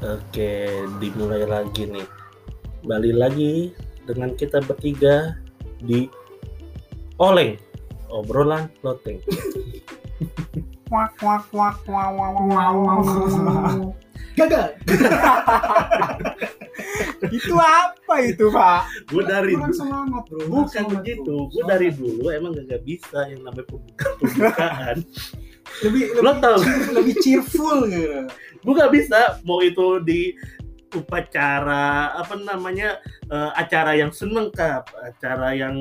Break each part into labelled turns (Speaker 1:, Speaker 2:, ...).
Speaker 1: Oke, dimulai lagi nih. Balik lagi dengan kita bertiga di Oleng, obrolan loteng.
Speaker 2: Wak wak wak wak wak wak wak wak.
Speaker 3: gagal
Speaker 2: Itu apa itu, Pak?
Speaker 1: Gue dari
Speaker 3: kurang semangat bro kurang
Speaker 1: bukan
Speaker 3: semangat,
Speaker 1: begitu.
Speaker 3: bro.
Speaker 1: Gue dari dulu emang gak bisa yang namanya pembukaan pembukaan.
Speaker 3: lebih
Speaker 1: Lo
Speaker 3: lebih,
Speaker 1: tau,
Speaker 3: lebih cheerful gitu
Speaker 1: gue gak bisa mau itu di upacara apa namanya eh, acara yang seneng kah, acara yang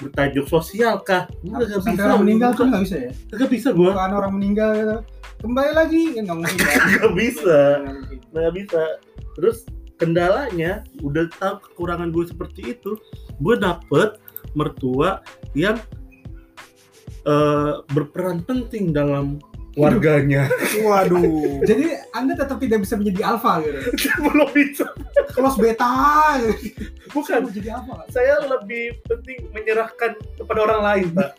Speaker 1: bertajuk sosial kah? Gue gak
Speaker 3: sampai
Speaker 1: bisa.
Speaker 3: orang meninggal tuh
Speaker 1: Gua-
Speaker 3: nggak bisa ya
Speaker 1: Gak bisa gue.
Speaker 3: bukan orang meninggal gitu kembali lagi kan nggak mungkin kan?
Speaker 1: Nggak bisa.
Speaker 3: Nggak mungkin.
Speaker 1: nggak bisa terus kendalanya udah tahu kekurangan gue seperti itu gue dapet mertua yang eh, berperan penting dalam warganya
Speaker 2: Waduh.
Speaker 3: jadi anda tetap tidak bisa menjadi alpha gitu
Speaker 1: belum bisa
Speaker 3: close beta gitu.
Speaker 1: bukan
Speaker 3: mau jadi apa
Speaker 1: saya lebih penting menyerahkan kepada orang lain pak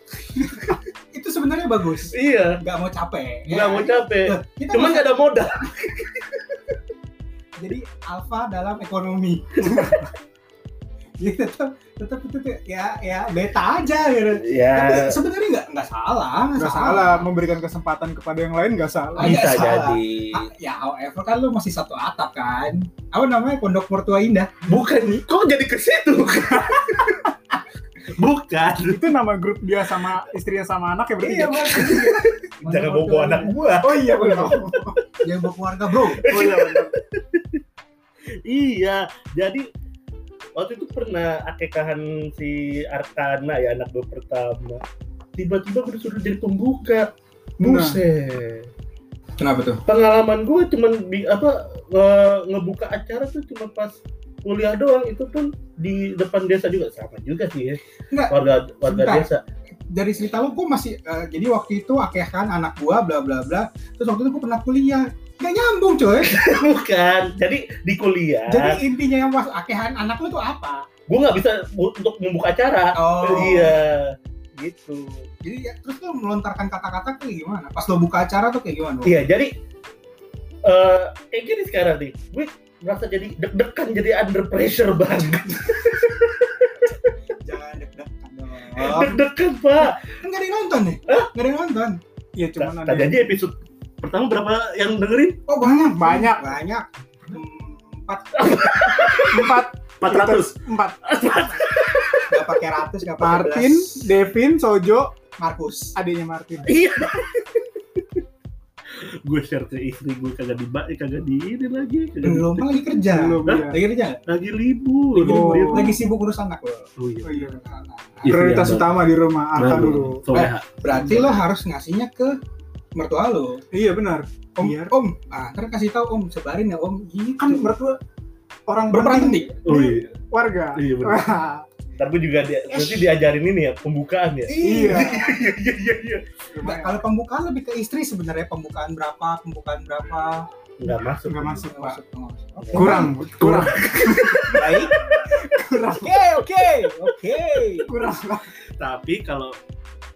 Speaker 3: itu sebenarnya bagus
Speaker 1: iya
Speaker 3: nggak mau capek
Speaker 1: nggak mau capek
Speaker 3: Nah, kita
Speaker 1: cuman
Speaker 3: bisa
Speaker 1: nggak ada modal
Speaker 3: jadi alpha dalam ekonomi jadi tetap tetap itu tuh ya ya beta aja gitu tapi
Speaker 1: ya
Speaker 3: sebenarnya nggak nggak salah
Speaker 2: Eh. Nggak salah memberikan kesempatan kepada yang lain nggak salah.
Speaker 3: Iya,
Speaker 1: bisa
Speaker 3: salah.
Speaker 1: jadi
Speaker 3: Ah, ya however kan lu masih satu atap kan apa namanya pondok mertua indah
Speaker 1: bukan kok jadi ke situ bukan
Speaker 2: Itu nama grup dia sama istrinya sama anak ya berarti. ya?
Speaker 3: Iya, mas
Speaker 1: jangan bawa anak gua
Speaker 2: Oh iya benar.
Speaker 3: jangan bawa keluarga bro
Speaker 2: Oh iya benar.
Speaker 1: Iya, jadi waktu itu pernah akekahan si Arkana ya anak gue pertama. Tiba-tiba gue disuruh jadi pembuka.
Speaker 3: Nah.
Speaker 2: Nah.
Speaker 1: Buset.
Speaker 3: kenapa tuh
Speaker 1: Pengalaman gue cuman di apa nge- ngebuka acara tuh cuma pas kuliah doang itu pun di depan desa juga sama juga sih ya.
Speaker 3: Enggak,
Speaker 1: Warga warga
Speaker 3: sebentar.
Speaker 1: desa.
Speaker 3: dari cerita lu gua masih eh, jadi waktu itu akeh kan anak gua bla bla bla terus waktu itu gua pernah kuliah Gak nyambung
Speaker 2: Eh.
Speaker 3: coy
Speaker 1: Bukan. Jadi di kuliah
Speaker 3: jadi intinya yang pas akehan anak lu tuh apa
Speaker 1: gue nggak bisa bu- untuk membuka acara.
Speaker 3: Oh.
Speaker 1: Iya. Gitu.
Speaker 3: jadi ya, terus lu melontarkan kata-kata kayak gimana pas lu buka acara tuh kayak gimana bro?
Speaker 1: Iya, jadi eh kayak gini sekarang nih, gue merasa jadi deg-degan, jadi under pressure banget.
Speaker 3: jangan deg-degan dong
Speaker 1: Deg-degan, Pak.
Speaker 3: kan gak ada yang nonton nih gak ada yang nonton
Speaker 2: Iya cuman
Speaker 1: Nah,
Speaker 2: ada
Speaker 1: Tadi aja episode pertama berapa yang dengerin?
Speaker 3: oh banyak
Speaker 2: Banyak.
Speaker 3: banyak Hmm, empat
Speaker 2: empat
Speaker 1: 400.
Speaker 2: empat.
Speaker 3: Gak pakai ratus, gak pakai
Speaker 2: Martin,
Speaker 3: belas.
Speaker 2: Devin, Sojo,
Speaker 3: Markus.
Speaker 2: adiknya Martin.
Speaker 1: Iya. gue share ke istri gue kagak di eh, kagak di ini lagi, kagak di-
Speaker 3: Belum kan lagi kerja.
Speaker 2: Belum ya.
Speaker 3: Lagi kerja.
Speaker 1: lagi libur.
Speaker 2: Libur.
Speaker 1: Dia-
Speaker 3: Lagi sibuk ngurus anak lo.
Speaker 1: Oh iya.
Speaker 2: Oh, iya.
Speaker 1: Iya,
Speaker 2: Prioritas
Speaker 1: iya,
Speaker 2: utama di rumah Arka
Speaker 1: Baru.
Speaker 2: dulu.
Speaker 1: Soleha.
Speaker 3: Berarti lo harus ngasihnya ke mertua lo.
Speaker 2: Iya benar.
Speaker 3: Om,
Speaker 2: Biar
Speaker 3: om. Ah, ntar kasih tahu om, sebarin ya om. Gini
Speaker 2: kan
Speaker 3: kan
Speaker 2: mertua orang
Speaker 3: berperan penting.
Speaker 1: Oh iya.
Speaker 2: warga.
Speaker 1: Iya benar. Ntar gue juga dia, nanti diajarin ini ya pembukaan ya.
Speaker 2: iya.
Speaker 1: Iya iya iya. iya.
Speaker 3: Nggak, kalau pembukaan lebih ke istri sebenarnya pembukaan berapa, pembukaan berapa.
Speaker 1: Nggak masuk.
Speaker 2: Nggak masuk. Pak.
Speaker 3: Nggak masuk, nggak masuk. Oke.
Speaker 2: Kurang, kurang,
Speaker 3: Baik.
Speaker 2: kurang,
Speaker 3: Oke, oke, oke.
Speaker 2: kurang.
Speaker 1: tapi kalau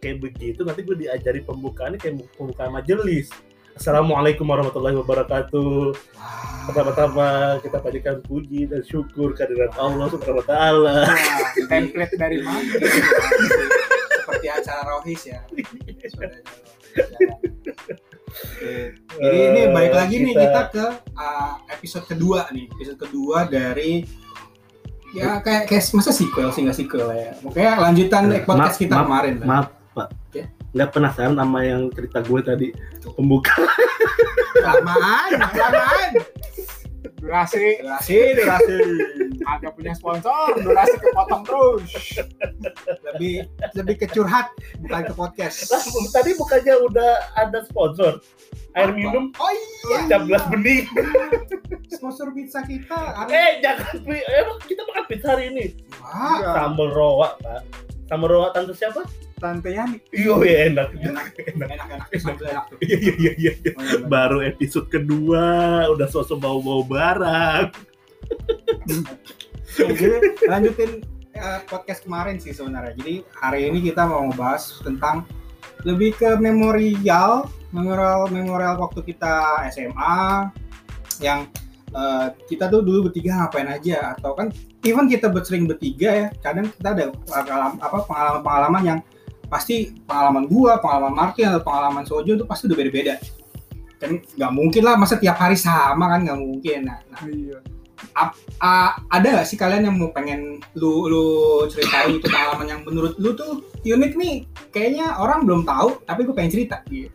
Speaker 1: kayak begitu nanti gue diajari pembukaannya kayak pembukaan majelis Assalamualaikum warahmatullahi wabarakatuh. Pertama-tama kita panjatkan puji dan syukur kehadirat Allah Subhanahu wa taala.
Speaker 2: Template dari mana?
Speaker 3: Seperti acara rohis ya. Sudah, sudah. Oke. Jadi ini balik lagi nih Eh, kita ke uh, episode kedua nih, episode kedua dari ya kayak kayak masa sequel sih nggak sequel lah ya. Pokoknya lanjutan
Speaker 1: Eh,
Speaker 3: podcast
Speaker 1: maaf,
Speaker 3: kita
Speaker 1: maaf,
Speaker 3: kemarin. lah.
Speaker 1: Maaf, Pak.
Speaker 3: Oke.
Speaker 1: Nggak penasaran sama yang cerita gue tadi pembukaan.
Speaker 3: Kelamaan, kelamaan.
Speaker 2: Durasi,
Speaker 3: Durasi, durasi.
Speaker 2: agak punya sponsor, durasi kepotong terus.
Speaker 3: Lebih lebih ke curhat bukan ke podcast.
Speaker 1: Lah, tadi bukannya udah ada sponsor air minum
Speaker 3: Oh iya.
Speaker 1: jam belas benih.
Speaker 3: Sponsor pizza kita. Ari.
Speaker 1: Eh, jangan emang kita makan pizza hari ini.
Speaker 3: Wah,
Speaker 1: Sambal roa, Pak. Sambal roa tante siapa?
Speaker 2: Tante Yani.
Speaker 1: Iya, iya, enak.
Speaker 3: enak, enak, enak, enak, Sambil enak Oh, tuh.
Speaker 1: Iya, iya, iya, iya. Baru episode kedua, udah sosok bawa-bawa barang.
Speaker 3: Oke, jadi lanjutin eh, podcast kemarin sih sebenarnya. Jadi hari ini kita mau ngebahas tentang lebih ke memorial, memorial, memorial waktu kita SMA yang eh, kita tuh dulu bertiga ngapain aja atau kan even kita sering bertiga ya kadang kita ada pengalaman apa pengalaman-pengalaman yang pasti pengalaman gua pengalaman Martin atau pengalaman Sojo itu pasti udah beda-beda kan nggak mungkin lah masa tiap hari sama kan nggak mungkin nah, nah,
Speaker 2: Iya.
Speaker 3: ah, ada nggak sih kalian yang mau pengen lu lu ceritain itu pengalaman yang menurut lu tuh unik nih kayaknya orang belum tahu tapi gue pengen cerita gitu.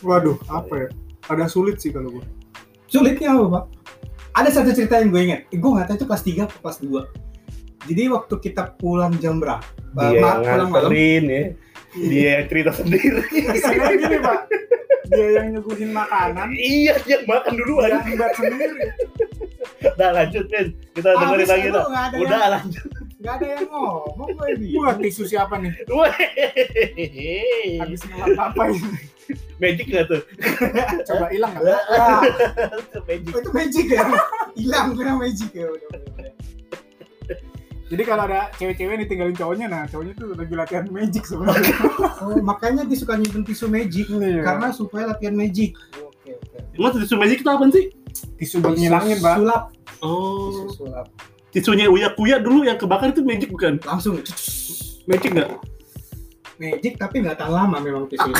Speaker 2: Waduh, apa ya? Ada sulit sih kalau gue.
Speaker 3: Sulitnya apa, Pak? Ada satu cerita yang gue ingat. Eh, gue nggak tahu itu kelas 3 atau kelas 2. Jadi waktu kita pulang jam berapa? Eh,
Speaker 1: dia
Speaker 3: ma-
Speaker 1: yang nganterin ya dia yang cerita sendiri
Speaker 2: Misalnya gini pak, dia yang nyuguhin makanan,
Speaker 1: iya dia yang makan duluan
Speaker 2: dia nggak sendiri.
Speaker 1: udah lanjut men kita
Speaker 3: Ah,
Speaker 1: dengerin
Speaker 3: abis
Speaker 1: lagi
Speaker 3: itu
Speaker 1: dah
Speaker 3: nggak ada
Speaker 1: udah ya.
Speaker 3: yang-
Speaker 1: lanjut
Speaker 3: nggak ada yang ngomong gue di.
Speaker 2: Gue tisu siapa nih?
Speaker 1: Wehehehe.
Speaker 2: Habis ngelap apa ini?
Speaker 1: magic nggak tuh
Speaker 2: Coba hilang nggak?
Speaker 1: Lah,
Speaker 2: Ah,
Speaker 1: magic
Speaker 3: Oh, itu magic ya? Hilang gue magic ya. Udah, udah, udah.
Speaker 2: Jadi kalau ada cewek-cewek nih tinggalin cowoknya, nah cowoknya tuh lagi latihan magic sebenarnya.
Speaker 3: Oh, makanya dia suka nyimpen tisu magic
Speaker 2: Karena
Speaker 3: karena supaya latihan magic. Oke, oke.
Speaker 1: emang tisu magic itu apa sih
Speaker 2: tisu buat ngilangin pak.
Speaker 3: Sulap, tisu
Speaker 1: oh
Speaker 3: sulap.
Speaker 1: tisunya uya kuya dulu yang kebakar itu magic bukan
Speaker 3: Langsung
Speaker 1: magic nggak
Speaker 3: magic tapi nggak tahan lama memang tisu.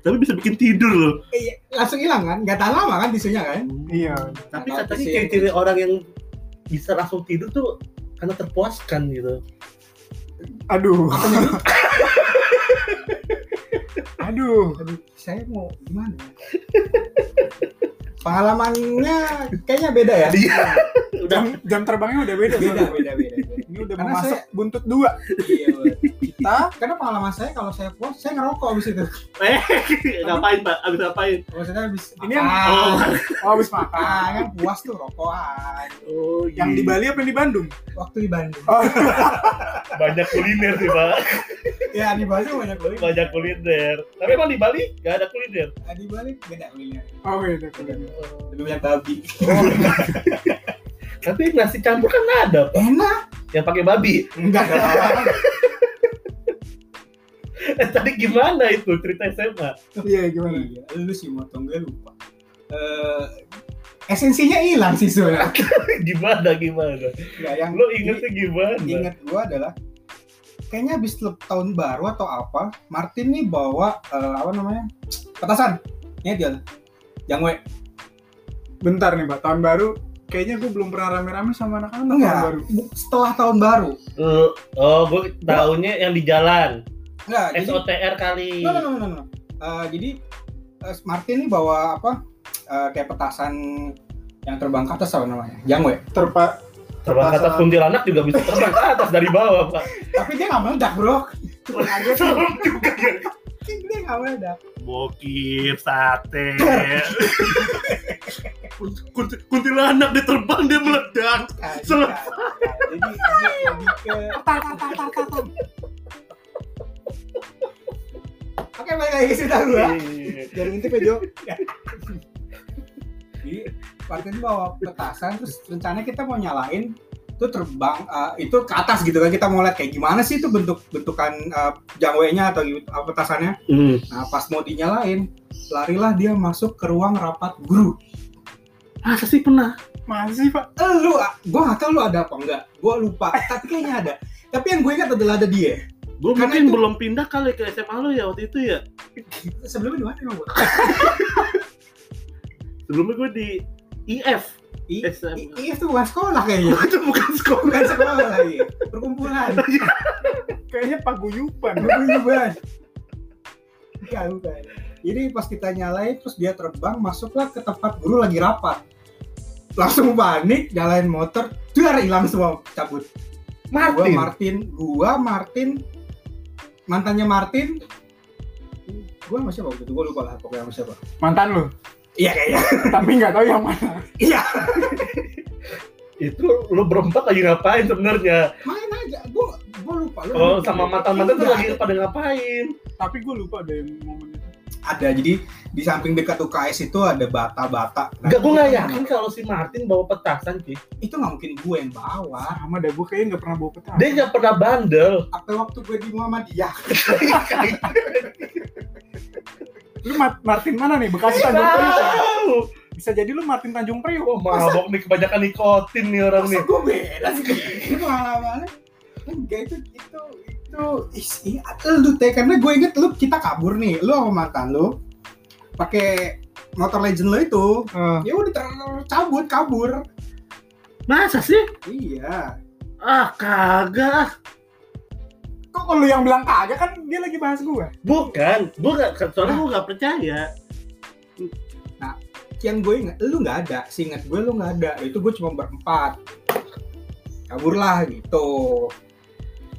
Speaker 1: tapi bisa bikin tidur loh
Speaker 3: Eh, langsung hilang kan? Nggak tahan lama kan tisunya kan?
Speaker 2: Iya.
Speaker 1: tapi
Speaker 3: Nggak tahu
Speaker 1: katanya
Speaker 3: sih.
Speaker 1: ciri-ciri orang yang bisa langsung tidur tuh karena terpuaskan gitu
Speaker 2: Aduh. Aduh.
Speaker 3: Aduh, saya mau gimana? Pengalamannya kayaknya beda ya.
Speaker 1: Iya. udah
Speaker 2: Jam, jam terbangnya udah beda.
Speaker 3: Beda,
Speaker 2: soalnya.
Speaker 3: beda, beda. beda.
Speaker 2: Ini udah
Speaker 3: Karena
Speaker 2: mau masuk buntut dua.
Speaker 3: Iya, bener.
Speaker 2: Kita
Speaker 3: Karena pengalaman saya kalau saya puas, saya ngerokok abis itu.
Speaker 1: eh ngapain pak abis ngapain
Speaker 3: Maksudnya abis
Speaker 2: Ini
Speaker 3: makan.
Speaker 1: oh,
Speaker 2: oh, habis makan.
Speaker 3: Ah, kan puas tuh rokokan.
Speaker 1: oh
Speaker 2: Yang di Bali apa yang di Bandung?
Speaker 3: Waktu di Bandung.
Speaker 2: Oh,
Speaker 1: banyak kuliner sih pak
Speaker 3: Ya di Bandung banyak kuliner.
Speaker 1: banyak kuliner tapi emang di Bali nggak ada kuliner
Speaker 3: Nah, di Bali beda kuliner.
Speaker 2: oh beda, beda.
Speaker 3: Lebih banyak babi. Oh,
Speaker 1: tapi nasi campur kan ada pak
Speaker 3: Enak.
Speaker 1: yang pakai babi
Speaker 3: Enggak ada apa-apa.
Speaker 1: Eh, tadi gimana itu cerita SMA
Speaker 2: Iya gimana?
Speaker 3: Iya, lu sih motong gue lupa. Eh, esensinya hilang sih sebenarnya.
Speaker 1: gimana gimana
Speaker 3: Enggak, yang
Speaker 1: lo ingetnya gimana
Speaker 3: ingat gua adalah kayaknya habis lep- tahun baru atau apa Martin nih bawa eh, apa namanya petasan ini dia jangwe
Speaker 2: Bentar nih pak, tahun baru kayaknya gue belum pernah rame-rame sama anak-anak tahun baru.
Speaker 3: bu- setelah tahun baru
Speaker 1: Eh, oh gue taunya yang di jalan
Speaker 3: enggak jadi
Speaker 1: SOTR kali
Speaker 3: no, no, no, no, no. Eh, jadi eh, Martin nih bawa apa eh, kayak petasan yang terbang ke atas apa namanya jangwe
Speaker 2: Terpa
Speaker 1: Terbang ke atas
Speaker 2: Petasan.
Speaker 1: kuntilanak juga bisa terbang ke atas dari bawah, Pak.
Speaker 3: tapi dia nggak meledak bro
Speaker 1: Serem juga ya.
Speaker 3: dia nggak meledak
Speaker 1: Bokir, sate. Kunti- kuntilanak dia terbang, dia meledak.
Speaker 3: Nah, jadi-
Speaker 1: Selesai.
Speaker 3: jadi dia lebih ke
Speaker 2: tar tar tar tar tar.
Speaker 3: oke balik lagi ke cerita gua
Speaker 2: Jangan ngintip ya Jo.
Speaker 3: Jadi Martin bawa petasan terus rencananya kita mau nyalain itu terbang eh, itu ke atas gitu kan kita mau lihat kayak gimana sih itu bentuk bentukan eh, jangwenya atau gitu, eh, petasannya.
Speaker 1: Hmm.
Speaker 3: Nah pas mau dinyalain larilah dia masuk ke ruang rapat guru.
Speaker 1: Masa sih pernah?
Speaker 2: Masih pak.
Speaker 3: Eh, lu ah, gua nggak tahu lu ada apa enggak. Gua lupa tapi kayaknya ada. Tapi yang gue ingat adalah ada dia.
Speaker 1: Gue
Speaker 3: Karena
Speaker 1: mungkin
Speaker 3: itu-
Speaker 1: belum pindah kali ke SMA lo ya waktu itu ya.
Speaker 3: Sebelumnya di mana emang gua?
Speaker 1: Sebelumnya gue di IF.
Speaker 3: I-
Speaker 1: SMA.
Speaker 3: I- Iya itu bukan sekolah kayaknya.
Speaker 1: Itu bukan sekolah.
Speaker 3: Bukan sekolah lagi. Perkumpulan.
Speaker 2: Kayaknya paguyuban.
Speaker 3: Bukan. Bukan, bukan. Jadi pas kita nyalain terus dia terbang masuklah ke tempat guru lagi rapat. Langsung panik, nyalain motor, dar hilang semua cabut. Gua
Speaker 1: Martin.
Speaker 3: Martin, gua Martin mantannya Martin. Gua sama siapa waktu itu? Gua lupa lah pokoknya sama siapa.
Speaker 2: Mantan lu,
Speaker 1: ya.
Speaker 3: Iya kayaknya.
Speaker 2: tapi nggak tahu yang mana.
Speaker 3: Iya.
Speaker 1: Itu lo berempat lagi ngapain sebenarnya?
Speaker 3: Main aja. Gua gua lupa lu.
Speaker 1: Oh, sama mantan-mantan tuh
Speaker 3: Iya.
Speaker 1: lagi pada ngapain?
Speaker 2: Tapi gue lupa deh momen itu.
Speaker 3: ada. Jadi di samping dekat UKS itu ada bata-bata. Nah,
Speaker 1: Enggak, gue nggak
Speaker 3: itu-
Speaker 1: yakin kalau si Martin bawa petasan sih.
Speaker 3: Itu nggak mungkin gue yang bawa.
Speaker 2: Sama dah gue kayaknya nggak pernah bawa petasan.
Speaker 1: Dia nggak pernah
Speaker 3: Iya.
Speaker 1: bandel.
Speaker 3: apa waktu gue di Muhammadiyah
Speaker 2: Lu Ma- Martin mana nih? Bekasi Tanjung Priok.
Speaker 1: Tahu.
Speaker 2: Bisa jadi lu Martin Tanjung Priok.
Speaker 1: Wah, mabok nih kebanyakan nikotin nih orang nih.
Speaker 3: Masa gue beda sih Ini pengalamannya Enggak itu Itu Itu isi, Lu teh Karena gue inget lu Kita kabur nih Lu sama mantan lu pakai motor legend lo itu
Speaker 2: Eh,
Speaker 3: ya udah tercabut kabur
Speaker 1: Masa sih?
Speaker 3: iya
Speaker 1: Ah, kagak. ah.
Speaker 2: Kok kalau lu yang bilang kagak kan dia lagi bahas gua.
Speaker 1: Bukan, gua nggak soalnya gua nggak percaya.
Speaker 3: yang gue inget lu nggak ada seingat gue lu nggak ada itu gue cuma berempat kaburlah gitu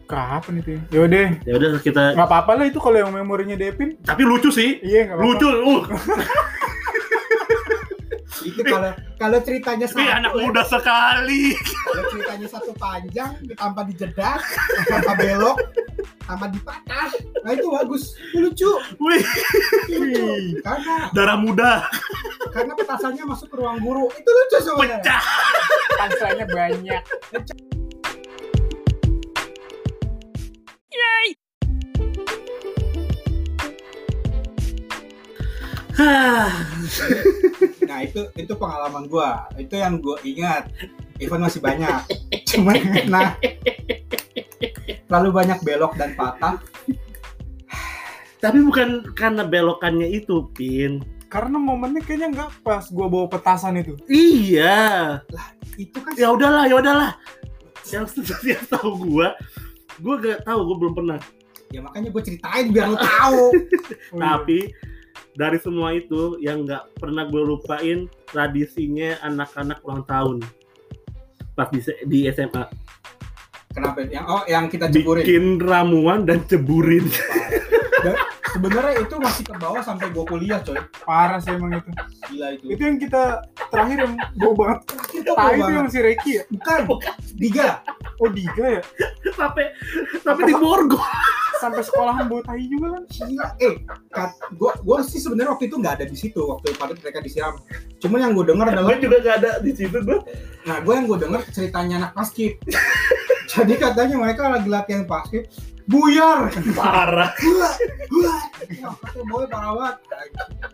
Speaker 2: Kapan itu? Ya udah,
Speaker 1: Ya udah kita
Speaker 2: enggak apa-apa lah itu kalau yang memorinya Devin.
Speaker 1: tapi lucu sih.
Speaker 2: Iya, enggak apa-apa.
Speaker 1: Lucu. Uh,
Speaker 3: itu kalau kalau ceritanya satu ya,
Speaker 1: ini anak muda sekali.
Speaker 3: kalau ceritanya satu panjang tanpa dijedak tanpa belok tanpa dipatah nah itu bagus lucu
Speaker 1: Wih,
Speaker 3: lucu karena
Speaker 1: darah muda
Speaker 3: karena petasannya masuk ke ruang guru itu lucu sebenarnya
Speaker 1: pecah.
Speaker 2: Panselnya banyak.
Speaker 3: Nah itu itu pengalaman gua, itu yang gua ingat. Event masih banyak, cuman nah terlalu banyak belok dan patah.
Speaker 1: tapi bukan karena belokannya itu, Pin.
Speaker 2: Karena momennya kayaknya enggak pas gua bawa petasan itu.
Speaker 1: Iya.
Speaker 3: Itu kan
Speaker 1: ya udahlah ya udahlah yang yang tahu gua gua gak tahu gua belum pernah
Speaker 3: ya makanya gua ceritain biar lo tahu.
Speaker 2: Oh, iya.
Speaker 1: tapi dari semua itu yang nggak pernah gue lupain tradisinya anak-anak ulang tahun pas di, di SMA
Speaker 3: Kenapa? Yang oh yang kita ceburin.
Speaker 1: bikin ramuan dan ceburin
Speaker 3: Sebenarnya itu masih ke bawah sampai gua kuliah coy.
Speaker 2: parah sih emang itu.
Speaker 3: Gila itu.
Speaker 2: Itu yang kita terakhir yang bau banget.
Speaker 3: Itu
Speaker 2: Tai itu yang si Reki ya?
Speaker 3: Bukan. Diga.
Speaker 2: Oh, Diga ya?
Speaker 1: sampai sampai di Borgo
Speaker 2: Sampai sekolahan bawa tai juga kan?
Speaker 3: Gila. Eh, kat, gua gua sih sebenarnya waktu itu nggak ada di situ waktu pada mereka disiram. Cuman yang gua dengar adalah
Speaker 1: gue juga gak ada di situ gue
Speaker 3: Nah, gue yang gue denger ceritanya anak basket. Jadi katanya mereka lagi latihan basket, buyar.
Speaker 1: parah
Speaker 3: Gila, gila. Ya, kata boy parah banget.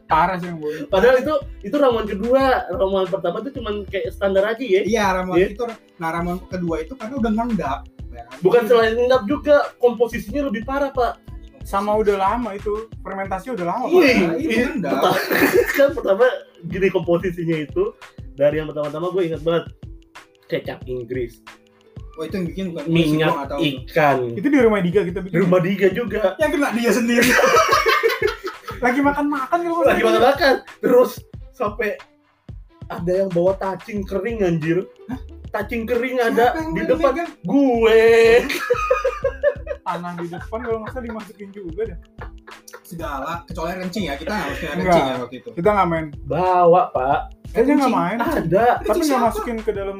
Speaker 2: Parah sih yang bau.
Speaker 1: padahal itu itu ramuan kedua ramuan pertama tuh cuman kayak standar aja ya
Speaker 3: Iya, Ramon
Speaker 1: Iya.
Speaker 3: itu. Nah, Ramon kedua itu karena udah ngendap. ya kan?
Speaker 1: bukan selain endap juga komposisinya lebih parah pak
Speaker 2: Sama udah lama itu. Fermentasi udah lama. Pak.
Speaker 1: Iya,
Speaker 3: Nah, itu
Speaker 1: iya,
Speaker 3: ngendap.
Speaker 1: pertama, kan pertama gini komposisinya itu dari yang pertama-tama gue ingat banget kecap Inggris,
Speaker 3: Wah, itu yang bikin bukan gue sih, gue nggak
Speaker 1: minyak
Speaker 3: tahu tuh.
Speaker 1: ikan,
Speaker 2: Itu di rumah Diga kita
Speaker 1: di
Speaker 2: bikin.
Speaker 1: rumah Diga juga
Speaker 3: Yang kena dia sendiri.
Speaker 2: Lagi makan-makan kalau nggak
Speaker 1: lagi
Speaker 2: salah.
Speaker 1: makan-makan terus sampai ada yang bawa cacing kering anjir cacing kering ada
Speaker 3: Siapa yang
Speaker 1: di
Speaker 3: megang?
Speaker 1: depan gue
Speaker 2: Tanah di depan kalau nggak salah dimasukin juga deh.
Speaker 3: segala kecuali rencing ya kita nggak mesti rencing ya waktu itu.
Speaker 2: Kita nggak main.
Speaker 1: bawa pak
Speaker 2: Kayaknya nggak main.
Speaker 1: ada
Speaker 2: Tapi
Speaker 3: Itu
Speaker 2: nggak
Speaker 3: siapa?
Speaker 2: masukin ke dalam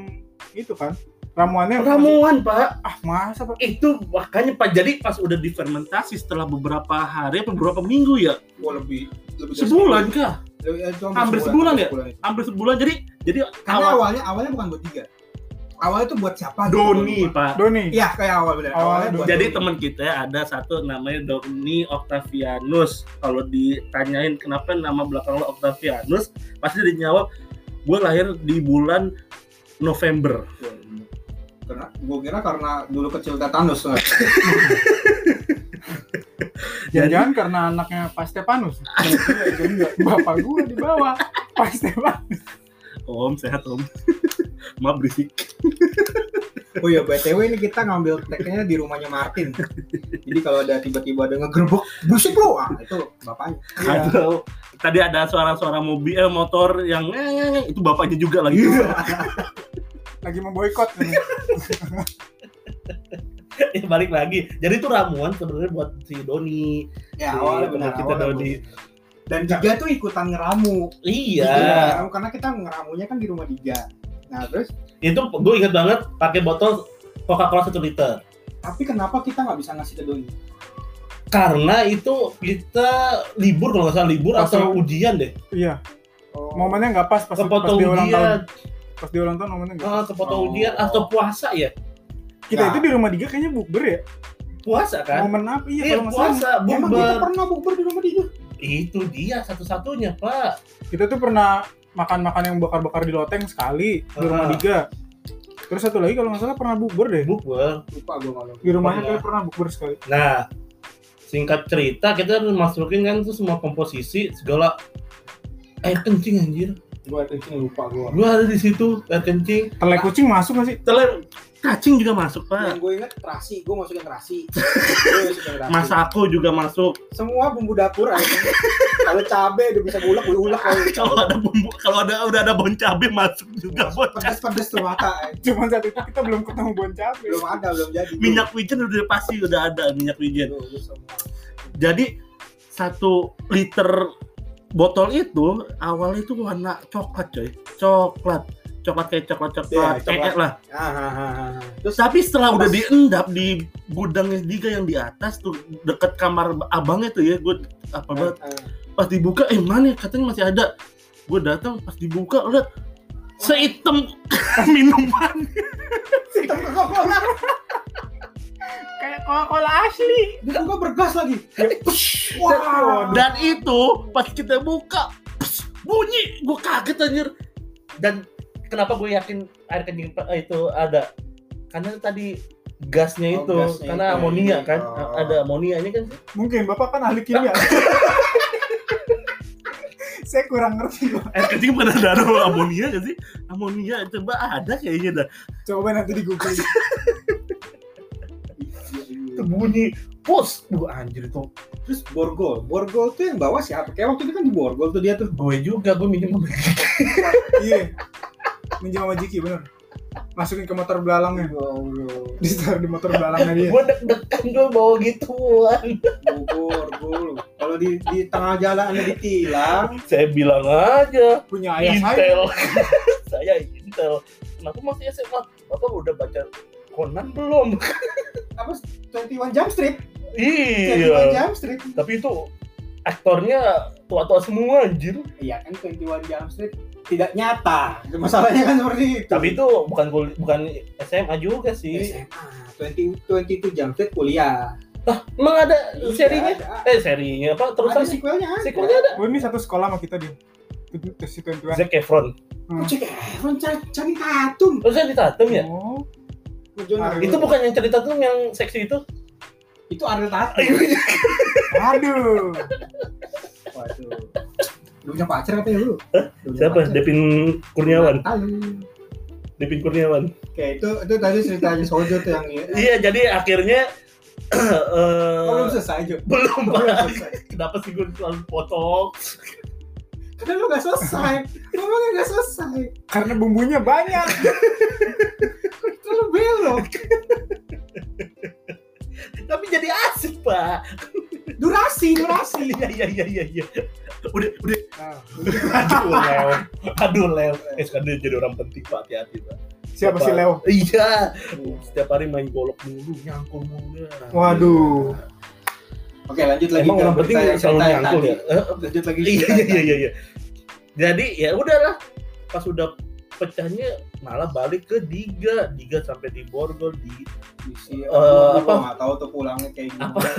Speaker 2: itu kan. Ramuannya.
Speaker 1: ramuan pak
Speaker 2: Ah masa pak?
Speaker 1: itu makanya pak jadi pas udah difermentasi setelah beberapa hari atau beberapa minggu ya
Speaker 3: Wah lebih lebih dari
Speaker 1: sebulan kah
Speaker 3: Lebih, eh, itu
Speaker 1: Hampir sebulan ya?
Speaker 3: itu.
Speaker 1: hampir sebulan jadi jadi
Speaker 3: Karena
Speaker 1: awal
Speaker 3: awalnya awalnya bukan buat tiga. Awalnya tuh buat siapa? gitu,
Speaker 1: Doni pak
Speaker 2: Doni.
Speaker 3: Iya kayak awal bener.
Speaker 2: Awalnya
Speaker 3: Awalnya buat
Speaker 1: Jadi
Speaker 3: dulu.
Speaker 1: teman kita ada satu namanya Doni Octavianus. Kalau ditanyain kenapa nama belakang lo Octavianus, pasti dia jawab, gue lahir di bulan November.
Speaker 3: karena gue kira karena dulu kecil tetanus. eh.
Speaker 2: Jangan-jangan karena anaknya Pak Stepanus. Jadi nggak- bapak gua di bawah. Pak Stepanus.
Speaker 1: Om sehat om. Maaf berisik.
Speaker 3: Oh iya btw ini kita ngambil tag-nya di rumahnya Martin. Jadi kalau ada tiba-tiba ada ngegerbek, busuk lu ah itu bapaknya.
Speaker 1: Atau tadi ada suara-suara mobil eh, motor yang "Ngeng-ngeng-ngeng." itu bapaknya juga lagi.
Speaker 2: Lagi memboikot. ini.
Speaker 1: Ya, Balik lagi. Jadi itu ramuan sebenarnya buat si Doni. Iya,
Speaker 3: Ya awalnya benar
Speaker 1: benar, kita
Speaker 3: awalnya
Speaker 1: Doni.
Speaker 3: benar. Dan Diga tuh ikutan ngeramu.
Speaker 1: Iya.
Speaker 3: Ikutan ngeramu, karena kita ngeramunya kan di rumah Diga. Nah terus
Speaker 1: Itu gue inget banget pakai botol Coca-Cola satu liter.
Speaker 3: tapi kenapa kita nggak bisa ngasih ke Doni?
Speaker 1: karena itu kita libur kalau nggak salah libur
Speaker 2: Pas
Speaker 1: atau
Speaker 2: libur.
Speaker 1: ujian deh
Speaker 2: Iya.
Speaker 3: Oh,
Speaker 2: Momennya nggak pas pas, pas
Speaker 1: kepotong Nah.
Speaker 2: dia ulang tahun.
Speaker 1: ujian
Speaker 2: Pas dia ulang tahun momennya nggak.
Speaker 1: Ah, kepotong
Speaker 3: Oh.
Speaker 1: ujian atau puasa ya
Speaker 2: Kita
Speaker 3: Nah.
Speaker 2: itu di rumah Diga kayaknya bukber ya.
Speaker 1: puasa kan
Speaker 2: Momen apa? Iya,
Speaker 1: Iya,
Speaker 2: kalau nggak salah.
Speaker 1: puasa,
Speaker 2: Emang
Speaker 1: bukber.
Speaker 2: kita pernah bukber di rumah dia.
Speaker 1: itu dia satu-satunya pak
Speaker 2: Kita tuh pernah makan-makan yang bakar-bakar di loteng sekali di rumah
Speaker 1: Ah.
Speaker 2: Diga. Terus satu lagi kalau nggak salah pernah bukber deh.
Speaker 1: bukber
Speaker 3: lupa gue malu
Speaker 2: Di rumahnya
Speaker 1: Pernah.
Speaker 2: kita pernah bukber sekali.
Speaker 1: nah singkat cerita kita masukin kan tuh semua komposisi segala air kencing anjir
Speaker 3: gue kencing lupa gue
Speaker 1: gua ada di situ air kencing
Speaker 2: Telai kucing masuk nggak sih?
Speaker 1: telan cacing juga masuk pak
Speaker 3: yang gue inget terasi gue masukin terasi gue masukin terasi
Speaker 1: masako juga masuk
Speaker 3: semua bumbu dapur aja kalau cabe udah bisa gulak gue ulek
Speaker 1: kalau ada bumbu kalau ada udah ada bon cabe masuk juga bon
Speaker 3: pedes pedes tuh mata eh.
Speaker 2: Cuman saat itu kita belum ketemu Bon Cabe.
Speaker 3: belum ada belum jadi
Speaker 1: minyak wijen udah pasti udah ada minyak wijen
Speaker 3: Tuh, tuh, semua.
Speaker 1: jadi satu liter botol itu awalnya itu warna coklat coy coklat coklat kayak coklat coklat
Speaker 3: Iya,
Speaker 1: coklat lah
Speaker 3: Ah, ah, ah, ah. terus
Speaker 1: tapi setelah udah diendap di gudangnya Diga yang di atas tuh deket kamar abangnya tuh ya gue apa banget
Speaker 3: ah, ah.
Speaker 1: pas dibuka eh mana ya? katanya masih ada gue datang pas dibuka lihat seitem minuman
Speaker 3: hitam kakak keluar
Speaker 2: Kayak Coca-Cola asli.
Speaker 3: dia juga bergas lagi wah
Speaker 1: dan itu pas kita buka pss, bunyi gue kaget anjir dan kenapa gue yakin air kencing eh, itu ada karena tadi gasnya
Speaker 3: Oh,
Speaker 1: itu
Speaker 3: gasnya
Speaker 1: karena
Speaker 3: itu.
Speaker 1: amonia kan
Speaker 3: Oh.
Speaker 1: ada amonianya kan
Speaker 2: Mungkin Bapak kan ahli kimia. Saya kurang ngerti Pak.
Speaker 1: air kencing pada naruh amonia gak sih amonia coba ada kayaknya dah
Speaker 2: Coba nanti di Google.
Speaker 3: Iya,
Speaker 1: itu bunyi pos gue anjir itu
Speaker 3: terus borgol borgol tuh yang bawah siapa kayak waktu itu kan di borgol tuh dia tuh
Speaker 1: gue juga gue minum
Speaker 2: Iya. Minjem sama Jiki bener. Masukin ke motor belalangnya. Ditaruh di motor belalangnya
Speaker 3: Iya.
Speaker 2: dia.
Speaker 1: gue deg-degan gue bawa gitu, gituan
Speaker 3: Bogor, Bogor. Kalau di di tengah jalan ada ditilang,
Speaker 1: saya bilang aja
Speaker 2: Punya ayah saya.
Speaker 1: Intel. saya Intel. Kenapa masih SMA? Bapak udah baca Conan belum?
Speaker 3: apa 21 Jump Street, 21
Speaker 1: iya.
Speaker 3: Jump Street.
Speaker 1: Tapi itu aktornya tua-tua semua anjir.
Speaker 3: Iya kan 21 Jump Street tidak nyata. Masalahnya kan seperti itu.
Speaker 1: Tapi itu bukan kul- bukan SMA juga sih.
Speaker 3: SMA 20 22 Jump Street kuliah.
Speaker 1: Emang ada serinya?
Speaker 3: Iya, ada.
Speaker 1: Eh serinya apa?
Speaker 3: Terus ada
Speaker 1: Terusan
Speaker 3: sequelnya.
Speaker 1: sequelnya ada?
Speaker 2: Oh ini satu sekolah sama kita dia. Itu itu si Tuan
Speaker 1: Zac Efron.
Speaker 3: Oh, Cek Efron Cha- Channing Tatum.
Speaker 1: Terusnya ditatem ya?
Speaker 2: Oh,
Speaker 3: Jono.
Speaker 2: Ariel.
Speaker 1: Itu bukan yang cerita tuh yang seksi itu?
Speaker 3: itu Ariel Tatum.
Speaker 2: aduh.
Speaker 3: Waduh. Lu punya pacar apa ya lu? Lu punya
Speaker 1: Siapa?
Speaker 3: pacar?
Speaker 1: Devin Kurniawan.
Speaker 3: Tahu.
Speaker 1: Devin Kurniawan.
Speaker 3: Oke, itu itu tadi ceritanya Sojo tuh yang ini.
Speaker 1: Iya, jadi akhirnya eh,
Speaker 3: Belum selesai, Jo.
Speaker 1: belum
Speaker 3: Belum
Speaker 1: Pak.
Speaker 3: selesai.
Speaker 1: kenapa sih gue selalu potong
Speaker 3: Karena lu gak selesai. Ngomongnya gak selesai.
Speaker 2: Karena bumbunya banyak.
Speaker 3: Terus lu belok.
Speaker 1: tapi jadi asik pak
Speaker 3: Durasi, durasi.
Speaker 1: iya iya iya iya iya udah udah
Speaker 2: Nah,
Speaker 1: aduh Leo aduh Leo eh sekarang dia jadi orang penting pak hati-hati pak
Speaker 2: siapa sih Leo?
Speaker 1: iya setiap hari main golok mulu nyangkul mulu Nah, iya.
Speaker 2: Waduh.
Speaker 3: Oke, lanjut lagi.
Speaker 1: emang
Speaker 3: ke
Speaker 1: orang penting
Speaker 3: berita yang-
Speaker 1: selalu
Speaker 3: berita yang
Speaker 1: nyangkul
Speaker 3: tadi.
Speaker 1: ya Eh,
Speaker 3: Lanjut lagi. Eh,
Speaker 1: iya iya iya iya, iya jadi ya udahlah pas udah pecahnya malah balik ke Diga Diga sampai di Borgol di
Speaker 3: Isi,
Speaker 1: Eh, apa?
Speaker 3: aku- gua nggak tahu tuh pulangnya kayak gimana.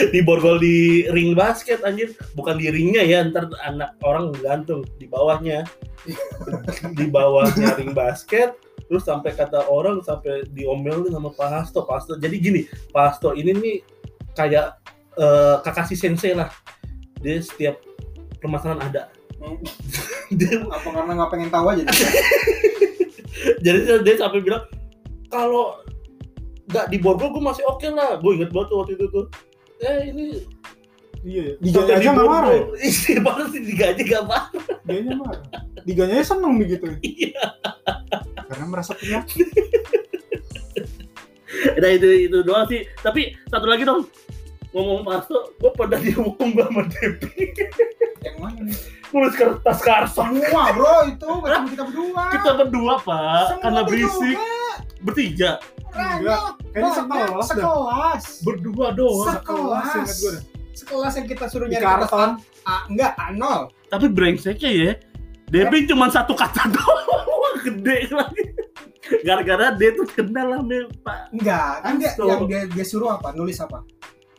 Speaker 1: di borgol di ring basket anjir bukan di ringnya ya ntar anak orang gantung di bawahnya di bawahnya ring basket terus sampai kata orang sampai diomelin sama Pak Hasto Pak Hasto jadi gini Pak Hasto ini nih kayak eh, Kakashi Sensei lah dia setiap permasalahan ada
Speaker 3: Hmm.
Speaker 1: dia,
Speaker 3: Apa karena nggak pengen tahu aja?
Speaker 1: jadi dia- dia sampai bilang kalau nggak di borgol gue masih oke lah gue inget banget tuh waktu itu tuh eh ini
Speaker 2: Iya, diganya aja nggak
Speaker 1: Borgol-
Speaker 2: marah. ya?
Speaker 1: Ih, baru sih digaji gak marah.
Speaker 2: Diganya marah. Diganya aja seneng begitu.
Speaker 1: Iya.
Speaker 2: Karena merasa punya.
Speaker 1: Nah itu itu doang sih. Tapi satu lagi dong ngomong pasto, gue pernah dihukum gua sama Depi
Speaker 3: Yang mana? nih?
Speaker 1: nulis kertas karton.
Speaker 3: Semua bro itu nggak cuma kita berdua.
Speaker 1: Kita berdua pak,
Speaker 3: Semua
Speaker 1: karena
Speaker 3: berdua.
Speaker 1: berisik bertiga,
Speaker 3: Enggak.
Speaker 2: Kayaknya sekelas dah.
Speaker 3: Sekelas.
Speaker 1: berdua doang.
Speaker 3: Sekelas.
Speaker 2: ingat gue dah.
Speaker 3: Sekelas yang kita suruh
Speaker 2: Di
Speaker 3: nyari
Speaker 2: karton.
Speaker 3: A, enggak, A nol. Ya.
Speaker 1: Tapi brengseknya ya, Depi cuma satu kata doang, gede lagi. gara-gara dia tuh kenal sama Pak
Speaker 3: Enggak, kan dia
Speaker 1: So-
Speaker 3: yang dia, dia suruh apa? Nulis apa?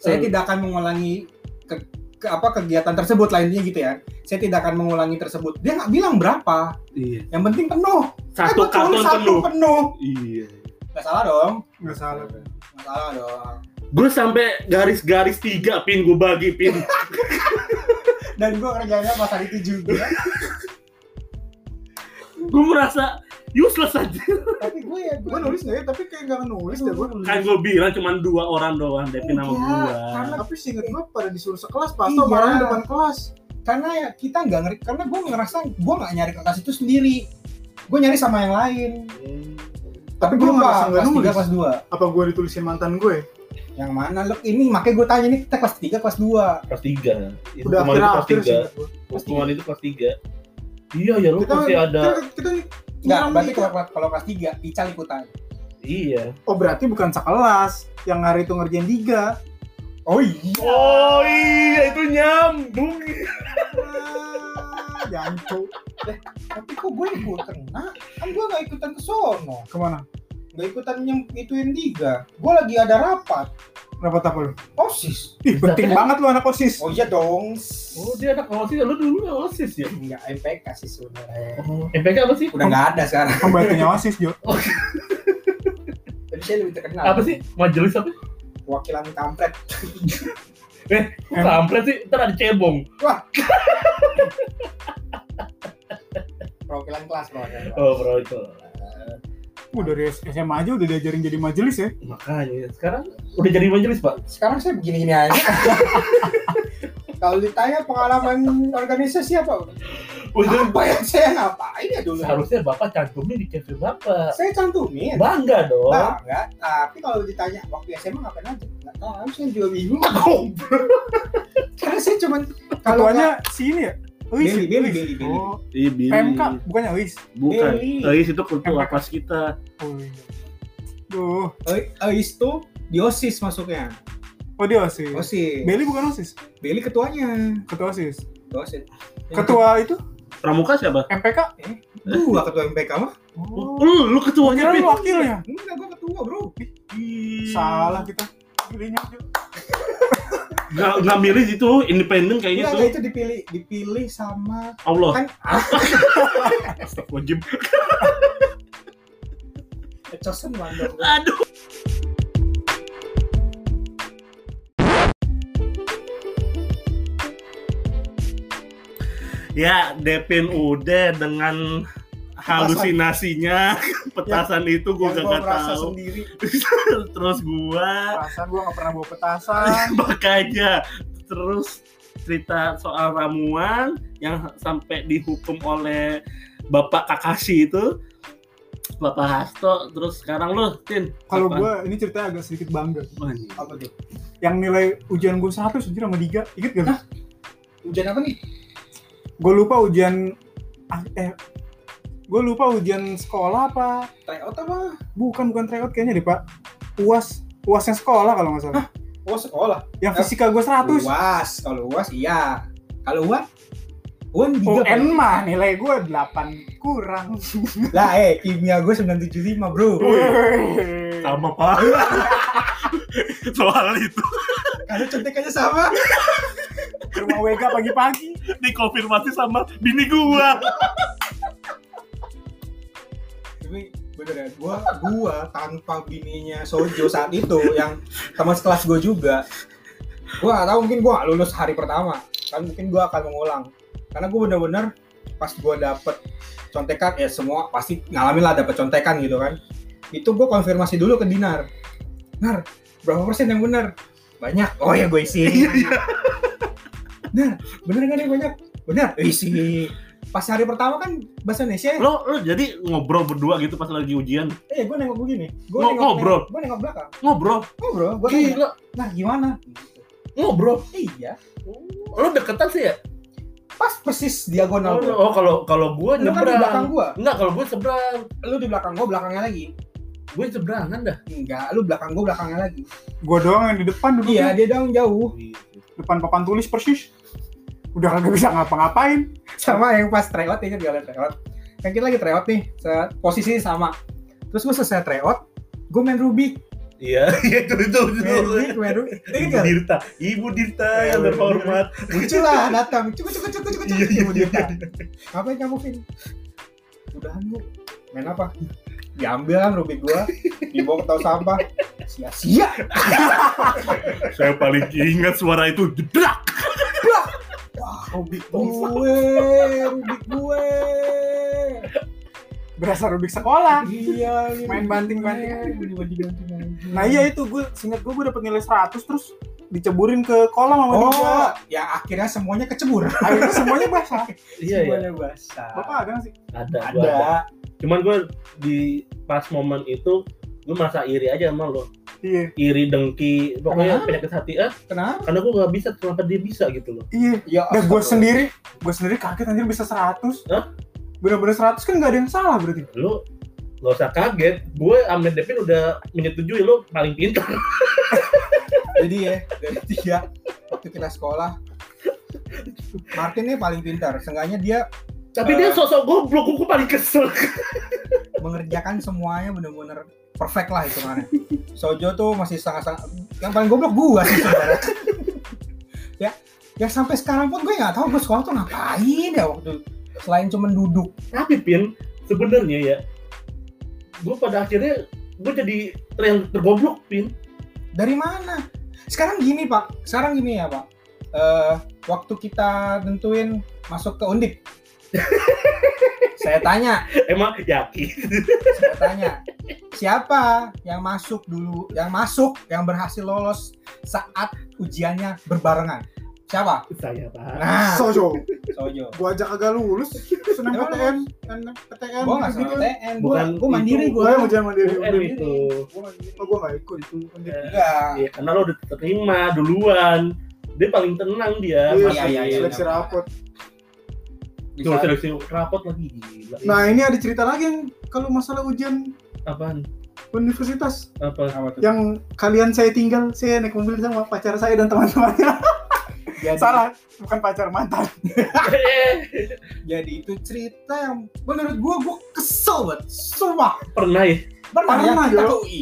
Speaker 3: Saya
Speaker 1: Eh.
Speaker 3: tidak akan mengulangi ke, ke apa kegiatan tersebut lainnya gitu ya. Saya tidak akan mengulangi tersebut. Dia nggak bilang berapa.
Speaker 1: iya.
Speaker 3: Yang penting penuh. Eh,
Speaker 1: satu
Speaker 3: gua tulis
Speaker 1: karton
Speaker 3: satu
Speaker 1: penuh
Speaker 3: penuh.
Speaker 1: iya
Speaker 3: Nggak salah dong.
Speaker 2: nggak salah kan
Speaker 3: Nggak salah dong.
Speaker 1: gue sampai garis-garis tiga pin gue bagi pin
Speaker 3: Dan gue kerjanya pas hari itu juga.
Speaker 1: gue merasa useless aja
Speaker 3: tapi gue ya
Speaker 2: gue nulis nggak ya tapi kayak nggak nulis deh gue nulis
Speaker 1: kan gue bilang cuma dua orang doang Devin sama
Speaker 3: Iya,
Speaker 1: gue
Speaker 3: karena-
Speaker 2: tapi singkat gue pada disuruh sekelas pas
Speaker 3: Iya.
Speaker 2: tuh marah di depan kelas
Speaker 3: karena ya kita nggak ngeri karena gue ngerasa gue nggak nyari kertas itu sendiri gue nyari sama yang lain
Speaker 2: Tapi
Speaker 1: Hmm,
Speaker 3: tapi
Speaker 2: gua
Speaker 3: gue nggak
Speaker 2: ngerasa nggak
Speaker 3: kelas tiga
Speaker 2: nulis.
Speaker 3: kelas dua
Speaker 2: apa gue ditulisin mantan ya? gue
Speaker 3: yang mana lo ini makanya gue tanya ini kita kelas tiga kelas dua
Speaker 1: kelas tiga Itu
Speaker 2: udah
Speaker 1: kemarin
Speaker 2: akhir
Speaker 1: itu
Speaker 2: akhir sih gua.
Speaker 1: Kelas tiga. itu kelas tiga iya ya lu
Speaker 2: kita kan-
Speaker 1: pasti ada
Speaker 2: kita, kita
Speaker 3: nggak
Speaker 2: nyerang
Speaker 3: berarti
Speaker 2: gitu.
Speaker 3: kalau kalau kelas tiga pical ikutan
Speaker 1: iya
Speaker 2: oh berarti bukan sekelas yang hari itu ngerjain tiga
Speaker 3: oh iya
Speaker 1: oh iya itu nyambung
Speaker 2: Ah, jancu
Speaker 3: tapi kok gue ikutan nah kan gue nggak ikutan ke sono
Speaker 2: kemana
Speaker 3: nggak ikutan yang ituin tiga gue lagi ada rapat
Speaker 2: rapat apa lu
Speaker 3: osis
Speaker 2: ih penting banget lu anak osis
Speaker 3: oh iya dong
Speaker 1: oh dia anak osis ya, lu dulu nggak osis ya Oh.
Speaker 3: nggak MPK sih sebenarnya
Speaker 1: MPK apa sih
Speaker 3: udah nggak ada sekarang
Speaker 2: pembantunya osis jo
Speaker 3: tapi saya lebih terkenal
Speaker 1: apa sih majelis apa
Speaker 3: wakilan kampret
Speaker 2: Em-
Speaker 1: kampret sih ntar ada cebong
Speaker 3: perwakilan kelas Eh, perwakilan kelas.
Speaker 1: oh bro itu
Speaker 2: uh, dari SMA aja udah diajarin jadi majelis ya
Speaker 1: makanya sekarang udah jadi majelis pak
Speaker 3: sekarang saya begini-gini aja kalau ditanya pengalaman organisasi apa
Speaker 1: Udah-
Speaker 3: apa yang saya ngapain ya dulu
Speaker 1: seharusnya bapak cantumin di CV bapak
Speaker 3: saya
Speaker 2: Iya.
Speaker 3: cantumin
Speaker 1: bangga dong
Speaker 3: Nah, enggak. Tapi kalau ditanya waktu SMA ngapain aja? Enggak tahu, saya juga bingung. Karena saya cuman kalau
Speaker 2: ketuanya si ini ya Uis,
Speaker 3: Billy, Billy,
Speaker 2: Uis.
Speaker 3: Billy, Billy.
Speaker 2: Oh,
Speaker 1: Iya, Billy.
Speaker 2: PMK bukannya Uis.
Speaker 1: Bukan.
Speaker 3: Billy.
Speaker 1: Ais itu kultur
Speaker 2: PMK.
Speaker 1: lapas kita.
Speaker 2: Oh, iya. Duh,
Speaker 3: itu Eh, diosis masuknya.
Speaker 2: oh dia osis.
Speaker 3: Osis.
Speaker 2: Beli bukan osis,
Speaker 3: Beli ketuanya.
Speaker 2: ketua osis.
Speaker 3: Dosen.
Speaker 2: Ketua itu
Speaker 1: Pramuka siapa?
Speaker 2: MPK.
Speaker 3: Dua ketua MPK mah?
Speaker 1: Lu,
Speaker 2: Oh,
Speaker 1: Hmm, lu, lu ketuanya.
Speaker 2: kira
Speaker 1: Pin.
Speaker 2: lu wakilnya.
Speaker 3: Enggak, gua ketua, Bro.
Speaker 1: Ih.
Speaker 2: Salah kita. Belinya Jo.
Speaker 1: Nggak, nggak milih itu independen kayaknya
Speaker 3: Enggak,
Speaker 1: tuh. Oh.
Speaker 3: itu dipilih dipilih sama
Speaker 1: Allah.
Speaker 3: kan ah,
Speaker 1: Astagfirullahaladzim.
Speaker 3: Chosen one dong.
Speaker 1: Aduh. Ya, Depin udah dengan halusinasinya petasan itu gue
Speaker 3: Yang
Speaker 1: gak,
Speaker 3: gua merasa
Speaker 1: tahu
Speaker 3: sendiri.
Speaker 1: terus gua
Speaker 2: Perasaan gua nggak pernah bawa
Speaker 1: Iya.
Speaker 2: petasan.
Speaker 1: makanya terus cerita soal ramuan yang sampai dihukum oleh bapak Kakashi itu bapak Hasto terus sekarang lu Tin
Speaker 2: Kalau
Speaker 1: apa?
Speaker 2: gua ini cerita agak sedikit bangga.
Speaker 1: Wah, nih.
Speaker 3: Apa tuh?
Speaker 2: Yang nilai ujian gua satu sejujurnya sama tiga. Ingat gak?
Speaker 3: Hujan apa nih?
Speaker 2: Gue lupa ujian ah, eh gue lupa ujian sekolah apa
Speaker 3: Tryout apa?
Speaker 2: bukan bukan tryout kayaknya deh pak uas uasnya sekolah kalau nggak salah
Speaker 3: Oh, sekolah.
Speaker 2: yang fisika gue 100
Speaker 3: UAS, kalau UAS iya. Kalau UAN? UAN juga.
Speaker 2: UN Oh, mah nilai gue 8 kurang.
Speaker 3: Lah eh kimia gue 975 bro
Speaker 1: sama pak soal itu
Speaker 3: Karena contekannya sama
Speaker 2: Ke rumah Wega pagi-pagi.
Speaker 1: dikonfirmasi sama bini gua
Speaker 3: Tapi bener ya gue gue tanpa bininya Sojo saat itu Yang teman sekelas gue juga Gue gak tau mungkin gue gak lulus hari pertama Kan mungkin gue akan mengulang Karena gue bener-bener pas gue dapet contekan Ya semua pasti ngalamin lah dapet contekan gitu kan Itu gue konfirmasi dulu ke Dinar Dinar berapa persen yang bener? Banyak, oh ya gue isi
Speaker 1: Iya,
Speaker 3: bener gak nih banyak bener isi pas hari pertama kan bahasa Indonesia ya
Speaker 1: lo lo jadi ngobrol berdua gitu pas lagi ujian
Speaker 3: eh gue nengok begini gue
Speaker 1: Ngo-
Speaker 3: nengok
Speaker 1: ngobrol.
Speaker 3: gue nengok belakang
Speaker 1: ngobrol
Speaker 3: ngobrol gue nanya
Speaker 1: gila
Speaker 3: nah gimana
Speaker 1: ngobrol
Speaker 3: iya
Speaker 1: lo deketan sih ya
Speaker 3: pas persis diagonal
Speaker 1: oh,
Speaker 3: gue
Speaker 1: oh, kalau kalau gua
Speaker 3: lu kan di belakang
Speaker 1: nyebrang
Speaker 3: gue
Speaker 1: enggak kalau gua seberang
Speaker 3: lu di belakang gue belakangnya lagi
Speaker 1: gua seberangan dah
Speaker 3: enggak lu belakang gue belakangnya lagi
Speaker 2: Gue doang yang di depan
Speaker 3: iya
Speaker 2: duduknya.
Speaker 3: dia dong jauh
Speaker 2: Depan papan tulis persis. Udah kagak bisa ngapa-ngapain.
Speaker 3: sama yang pas tryout ingat gak liat tryout kan kita lagi tryout nih se- posisi sama terus gue selesai tryout gue main Rubik
Speaker 1: Iya, iya itu itu itu.
Speaker 3: main Rubik main Rubik
Speaker 1: Eh, Ibu
Speaker 3: Ingat nggak?
Speaker 1: Dirta, Eh, Ibu Dirta
Speaker 3: Ya,
Speaker 1: yang
Speaker 3: Ibu Dirta.
Speaker 1: terhormat.
Speaker 3: muncul lah datang cukup cukup cukup cukup
Speaker 1: Iya,
Speaker 3: cukup
Speaker 1: iya,
Speaker 3: Ibu Dirta. ngapain kamu Vin udahan lu main apa diambil kan Rubik gua dibawa ke tong sampah sia-sia
Speaker 1: Saya paling ingat suara itu jedrak.
Speaker 3: wah Rubik gue Rubik gue
Speaker 2: berasa Rubik sekolah
Speaker 3: iya ini
Speaker 2: Main
Speaker 3: Rubik
Speaker 2: banting-bantingan.
Speaker 3: gue, dibanting-bantingan.
Speaker 2: nah iya itu gue singkat gue gue dapet nilai 100 terus diceburin ke kolam sama dia
Speaker 3: oh yang akhirnya semuanya kecebur
Speaker 2: akhirnya semuanya basah
Speaker 1: Iya, iya.
Speaker 3: semuanya basah
Speaker 2: bapak ada nggak sih
Speaker 1: Ada, gua ada.
Speaker 3: ada
Speaker 1: Cuman gue di pas momen itu gue merasa iri aja sama lo
Speaker 2: iya
Speaker 1: iri dengki pokoknya
Speaker 3: Kenapa?
Speaker 1: penyakit hati ah
Speaker 3: kenapa
Speaker 1: karena gue nggak bisa kenapa dia bisa gitu loh
Speaker 2: iya
Speaker 3: ya
Speaker 2: dan gue
Speaker 3: astagfirullah.
Speaker 2: sendiri gue sendiri kaget anjir bisa 100
Speaker 1: Hah?
Speaker 2: bener-bener 100 kan nggak ada yang salah berarti
Speaker 1: lu nggak usah kaget gue Ahmed Devin udah menyetujui lu paling pintar
Speaker 3: Jadi ya dari tiga waktu kita sekolah Martin ini paling pintar. Seenggaknya dia
Speaker 1: tapi dia sosok goblok gue paling kesel
Speaker 3: mengerjakan semuanya bener-bener perfect lah hitungannya. Sojo tuh masih sangat-sangat yang paling goblok gua sih sebenarnya. ya, ya sampai sekarang pun gue nggak tahu gue sekolah tuh ngapain ya waktu selain cuman duduk.
Speaker 1: tapi pin sebenarnya ya gue pada akhirnya gue jadi ter- yang tergoblok pin
Speaker 3: Dari mana? Sekarang gini pak, sekarang gini ya pak. Eh waktu kita tentuin masuk ke undip, saya tanya,
Speaker 1: emang yakin
Speaker 3: saya tanya siapa yang masuk dulu yang masuk yang berhasil lolos saat ujiannya berbarengan siapa
Speaker 1: saya pak
Speaker 3: nah
Speaker 2: sojo
Speaker 3: sojo
Speaker 2: gue ajak agak lulus seneng
Speaker 3: Emang
Speaker 2: PTN PTN
Speaker 3: gue nggak sama
Speaker 2: gitu-gitu.
Speaker 3: TN gue
Speaker 1: Bukan
Speaker 3: gue mandiri
Speaker 1: itu.
Speaker 2: gue
Speaker 3: gue
Speaker 2: yang ujian mandiri
Speaker 1: UN itu
Speaker 2: oh gue nggak
Speaker 3: Iya,
Speaker 2: ikut
Speaker 1: Eh,
Speaker 3: enggak
Speaker 1: ya, karena lo udah terima duluan dia paling tenang dia
Speaker 2: Iya,
Speaker 1: masih-
Speaker 3: iya, iya, iya.
Speaker 2: seleksi rapot
Speaker 1: Tuh, seleksi rapot lagi gila
Speaker 2: nah ini ada cerita lagi yang kalau masalah ujian
Speaker 1: apaan
Speaker 2: universitas
Speaker 1: apa
Speaker 3: Apa tuh?
Speaker 2: yang kalian saya tinggal saya naik mobil sama pacar saya dan teman-temannya
Speaker 3: jadi,
Speaker 2: salah bukan pacar mantan
Speaker 3: jadi itu cerita yang menurut gue gue kesel banget sumpah
Speaker 1: pernah Iya. ya
Speaker 3: pernah ya
Speaker 2: Pernah,
Speaker 3: kita
Speaker 2: Jo.
Speaker 3: ke UI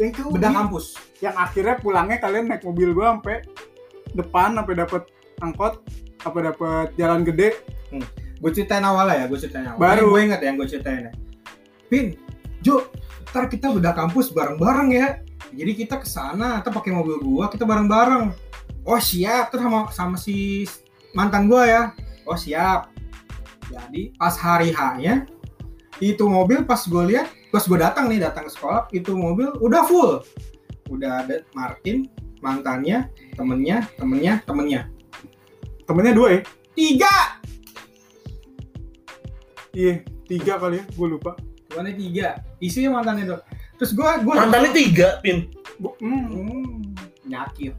Speaker 2: yang ke
Speaker 3: bedah
Speaker 2: UI.
Speaker 3: kampus
Speaker 2: yang akhirnya pulangnya kalian naik mobil gua sampai depan sampai dapat angkot apa dapat jalan gede
Speaker 3: gue ceritain awalnya ya gue ceritain awal
Speaker 2: Baru.
Speaker 3: gue inget yang gue ceritain ya. pin Jo ntar kita udah kampus bareng-bareng ya jadi kita ke sana atau pakai mobil gua kita bareng-bareng oh siap terus sama sama si mantan gua ya oh siap jadi pas hari hanya itu mobil pas gue lihat pas gue datang nih datang ke sekolah itu mobil udah full udah ada Martin mantannya temennya temennya temennya
Speaker 2: temennya dua ya
Speaker 3: tiga
Speaker 2: iya tiga kali ya gue lupa
Speaker 3: Bukannya tiga, isinya mantannya dok. Terus gue gue
Speaker 1: mantannya tiga pin
Speaker 2: Bu, hmm,
Speaker 3: hmm,
Speaker 1: Ayo
Speaker 3: nyakit.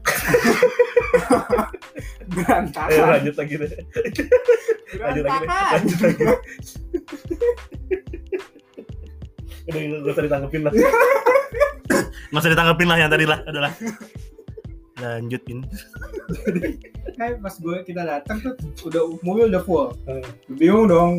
Speaker 2: berantakan
Speaker 1: Eh, lanjut lagi deh lanjut lagi deh
Speaker 2: berantakan
Speaker 1: lanjut lagi udah gak usah ditanggepin lah gak usah ditanggepin lah yang tadi lah adalah lanjut pin
Speaker 3: Kayak pas gue kita datang tuh udah mobil udah full. Bingung dong.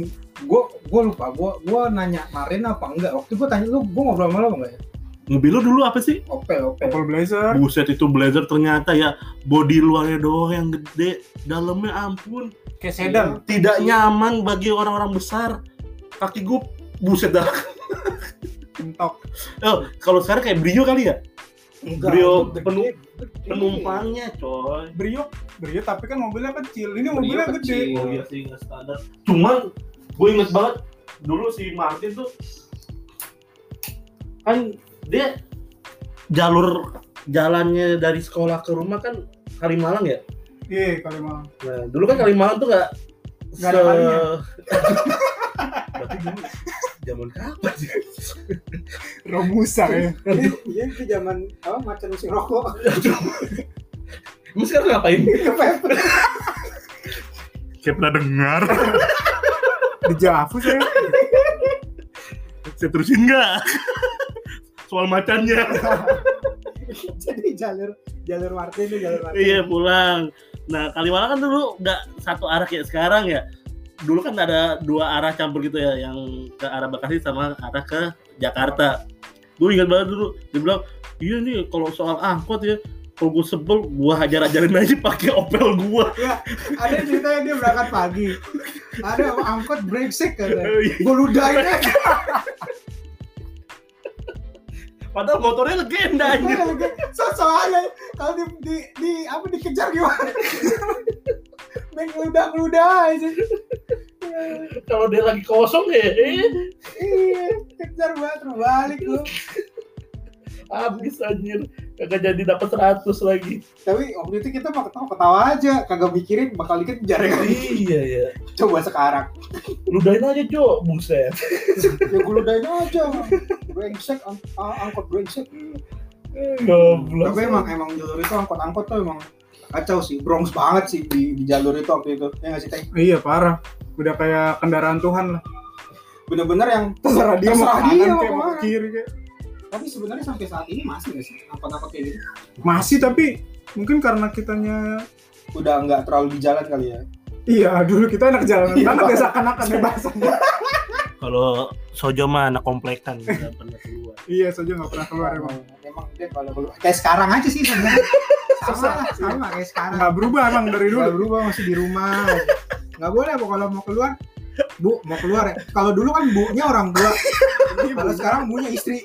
Speaker 3: Gue gue lupa gue gue nanya Marin apa enggak. Waktu gue tanya lu gue ngobrol sama lu apa enggak ya?
Speaker 1: mobil lu dulu apa sih
Speaker 3: Opel opel.
Speaker 2: Apple Blazer
Speaker 1: buset itu blazer ternyata ya body luarnya doang yang gede dalamnya ampun
Speaker 2: kayak
Speaker 3: sedan.
Speaker 1: tidak nyaman bagi orang-orang besar kaki gue buset dah
Speaker 2: kentok
Speaker 1: oh, kalau sekarang kayak brio kali ya
Speaker 3: Enggak,
Speaker 1: Brio
Speaker 3: itu gede,
Speaker 1: penum-
Speaker 2: Iya.
Speaker 3: gede.
Speaker 1: penumpangnya coy
Speaker 2: Brio Brio tapi kan mobilnya kecil ini
Speaker 3: Brio
Speaker 2: mobilnya
Speaker 3: kecil.
Speaker 2: gede
Speaker 1: Oh iya sih nggak standar. Cuman gue inget banget dulu si Martin tuh kan dia jalur jalannya dari sekolah ke rumah kan Kalimalang ya.
Speaker 2: iya kali mau
Speaker 1: Nah dulu kan Kalimalang tuh nggak
Speaker 2: Nggak ada kalinya.
Speaker 1: Berarti dulu zaman kapan sih?
Speaker 2: Romusa ya
Speaker 3: Iya itu zaman apa macan musim rokok.
Speaker 1: Emang sekarang ngapain?
Speaker 3: Kepepet.
Speaker 1: Saya pernah dengar.
Speaker 2: di Javu saya
Speaker 1: Saya terusin nggak? Soal macannya.
Speaker 3: Jadi jalur jalur Martin itu jalur Martin.
Speaker 1: Iya pulang. Nah Kalimalang kan dulu nggak satu arah kayak sekarang ya. Dulu kan ada dua arah campur gitu ya, yang ke arah Bekasi sama arah ke Jakarta. gue ingat banget dulu dia bilang iya nih kalau soal angkot ya kalau gue sebel gue hajar-hajarin aja pakai opel gue
Speaker 3: ada ceritanya dia berangkat pagi ada angkot brengsek katanya
Speaker 4: Gue ludahin aja.
Speaker 1: padahal motornya legenda anjir
Speaker 3: soalnya kalau di, di, di apa dikejar gimana main ludah ludah aja
Speaker 1: kalau dia lagi kosong ya eh,
Speaker 3: iya kejar banget terbalik lu
Speaker 1: habis anjir kagak jadi dapat 100 lagi
Speaker 3: tapi waktu itu kita mah ketawa ketawa aja kagak mikirin bakal dikejar ya
Speaker 1: iya ya
Speaker 3: coba sekarang
Speaker 1: ludahin aja Jo buset
Speaker 3: ya gue ludahin aja brengsek ang ang- angkot brengsek
Speaker 1: goblok
Speaker 3: tapi emang emang jalur itu angkot-angkot tuh emang kacau sih Bronx banget sih di, di jalur itu waktu itu ya nggak sih Teh?
Speaker 2: Iya parah. Udah kayak kendaraan Tuhan lah.
Speaker 3: bener-bener yang
Speaker 2: Terserah dia mau
Speaker 3: Terserah
Speaker 2: kanan
Speaker 3: dia mau
Speaker 2: kayak mau
Speaker 3: kemana.
Speaker 2: kiri kayak.
Speaker 3: tapi sebenarnya sampai saat ini masih nggak sih angkot-angkot kayak gitu
Speaker 2: Masih tapi mungkin karena kitanya
Speaker 3: udah nggak terlalu di jalan kali ya
Speaker 2: Iya, dulu kita anak jalanan
Speaker 3: Iya,
Speaker 2: banget
Speaker 3: Pak.
Speaker 2: ya seakan-akan bebasan.
Speaker 1: kalau Sojo mah anak komplekan nggak pernah keluar
Speaker 2: iya, Sojo nggak pernah keluar emang.
Speaker 3: emang emang dia kalau keluar- kayak sekarang aja sih sebenarnya sama lah sama kayak sekarang
Speaker 2: Nggak berubah emang dari
Speaker 3: Nggak
Speaker 2: dulu.
Speaker 3: berubah masih di rumah nggak boleh Bu, kalau mau keluar bu mau keluar ya kalau dulu kan bunya orang tua kalau sekarang bunya istri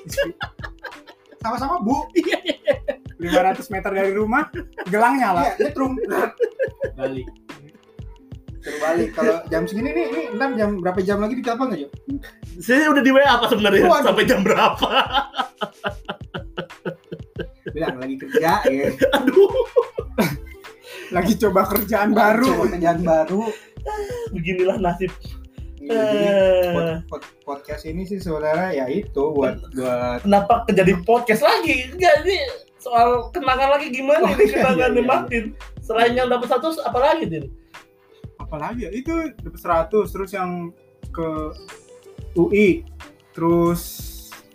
Speaker 3: sama-sama bu
Speaker 1: Iya,
Speaker 2: 500 meter dari rumah, gelang nyala.
Speaker 3: Iya, nyetrum.
Speaker 4: Balik.
Speaker 3: Terbalik. Kalau jam segini nih, ini ntar jam berapa jam lagi ditelepon aja?
Speaker 1: saya udah di WA apa sebenarnya
Speaker 3: Waduh.
Speaker 1: sampai jam berapa
Speaker 3: Bilang lagi kerja ya.
Speaker 1: aduh
Speaker 2: Lagi coba kerjaan baru.
Speaker 3: Coba kerjaan baru.
Speaker 1: beginilah nasib
Speaker 3: Iya, jadi pod- pod- podcast ini sih sebenarnya ya itu buat buat
Speaker 1: Eh, kenapa kejadian podcast lagi? Enggak ini soal kenangan lagi gimana
Speaker 3: Oh,
Speaker 1: ini
Speaker 3: iya,
Speaker 1: kenangan
Speaker 3: iya, iya.
Speaker 1: Martin. Selain yang dapat satu apa lagi Din?
Speaker 2: Apalagi ya, itu dapat 100 terus yang ke UI. Terus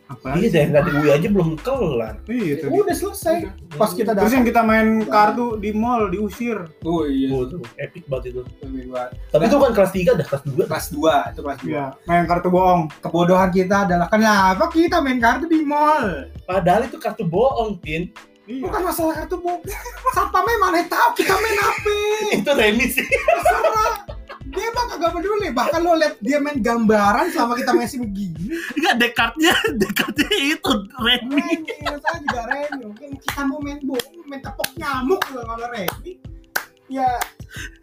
Speaker 2: apa?
Speaker 1: Iya, yang tadi gue aja belum kelar.
Speaker 2: Iya, tadi.
Speaker 3: udah selesai. Pas kita
Speaker 2: Terus
Speaker 3: datang.
Speaker 2: yang kita main kartu di mall diusir.
Speaker 3: Oh iya.
Speaker 1: Oh, tuh, epic banget itu.
Speaker 3: Lebih buat
Speaker 1: Tapi itu kan kelas 3 dah kelas 2.
Speaker 3: Kelas 2 itu kelas 2.
Speaker 2: Iya, main kartu bohong.
Speaker 3: Kebodohan kita adalah kenapa kita main kartu di mall?
Speaker 1: Padahal itu kartu bohong, Pin.
Speaker 2: Iya.
Speaker 3: Bukan masalah kartu bu. Satpam mana tahu kita main apa?
Speaker 1: Itu remisi.
Speaker 3: terserah dia mah kagak peduli bahkan lo liat dia main gambaran selama kita masih begini
Speaker 1: Enggak dekatnya, dekatnya itu remisi.
Speaker 3: Remi iya, saya juga Remi mungkin kita mau main bohong main tepok nyamuk juga kalau Remi ya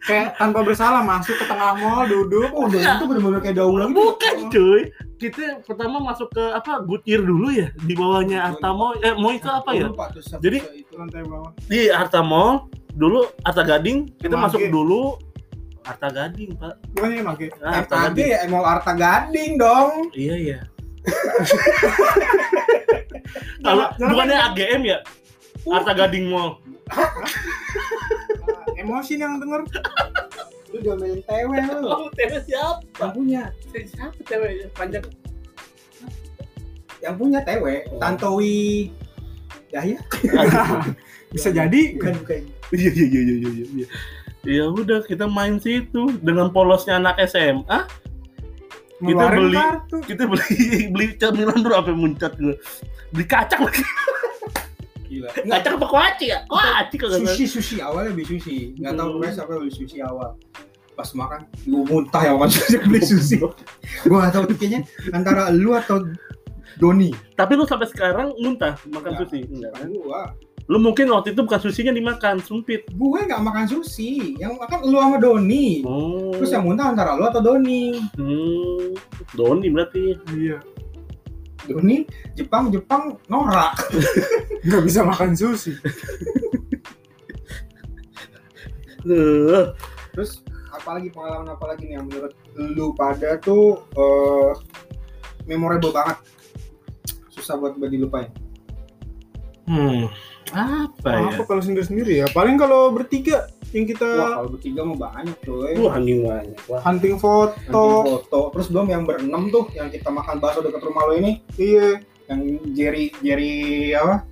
Speaker 2: Kayak tanpa bersalah masuk ke tengah mall duduk.
Speaker 3: udah Oh, itu bener-bener kayak daulah gitu
Speaker 1: Bukan, cuy. Kita pertama masuk ke apa? Goodyear dulu ya di bawahnya Arta Mall. Eh, mau itu apa ya?
Speaker 3: Lupa tuh, siapa
Speaker 1: Jadi-
Speaker 3: itu.
Speaker 2: lantai bawah.
Speaker 1: Di Iya, Arta Mall dulu Arta Gading kita
Speaker 2: Cuma
Speaker 1: masuk
Speaker 2: G.
Speaker 1: dulu Arta Gading, Pak.
Speaker 2: Bukannya yang pakai.
Speaker 1: Ah, Arta
Speaker 3: MAG
Speaker 1: Gading.
Speaker 3: ya Mall Arta Gading dong
Speaker 1: Iya iya. Kalau
Speaker 2: Jangan-
Speaker 1: bukannya AGM ya? Arta Gading Mall.
Speaker 2: Nah, emosi nih yang denger.
Speaker 3: lu diomelin tewe lu
Speaker 1: Oh, TW siapa?
Speaker 3: yang punya
Speaker 1: Siapa TW panjang?
Speaker 3: yang punya tewe Tantowi Yahya
Speaker 2: Bisa jadi
Speaker 3: bukan bukan
Speaker 1: Iya iya iya iya iya iya. Ya udah kita main situ dengan polosnya anak SMA.
Speaker 2: ngeluarin
Speaker 1: beli.
Speaker 2: kartu.
Speaker 1: Kita beli beli cemilan dulu apa yang muncat gue. Beli kacang lagi.
Speaker 3: gila
Speaker 1: Kacang apa kuaci ya? Kuaci kagak salah.
Speaker 3: sushi sushi awalnya beli sushi nggak tahu
Speaker 1: Hmm.
Speaker 3: kenapa siapa beli sushi awal pas makan gue muntah ya makan sushi beli sushi gue nggak tahu tuh kayaknya antara lu atau Doni
Speaker 1: Tapi lu sampai sekarang muntah makan
Speaker 3: Enggak.
Speaker 1: sushi. Enggak.
Speaker 3: gue
Speaker 1: Lu mungkin waktu itu bukan susinya dimakan, sumpit.
Speaker 3: gue nggak makan sushi yang makan lu sama Doni
Speaker 1: Oh.
Speaker 3: terus yang muntah antara lu atau Doni
Speaker 1: Hmm. Doni berarti.
Speaker 2: Iya.
Speaker 3: Doni Jepang Jepang norak
Speaker 2: Nggak bisa makan sushi.
Speaker 1: Eh.
Speaker 3: terus apalagi pengalaman apalagi nih yang menurut lu pada tuh eh, memorable banget susah buat buat dilupain
Speaker 1: Hmm, apa ya?
Speaker 2: Apa kalau sendiri-sendiri ya? Paling kalau bertiga yang
Speaker 3: wah
Speaker 2: kita
Speaker 3: kalau bertiga mau banyak coy
Speaker 1: Lu anjing banyak. Wah,
Speaker 2: hunting
Speaker 3: Nanti
Speaker 2: foto.
Speaker 3: foto terus belum yang berenam tuh yang kita makan bakso dekat rumah lo ini
Speaker 2: Iya.
Speaker 3: yang Jerry Jerry apa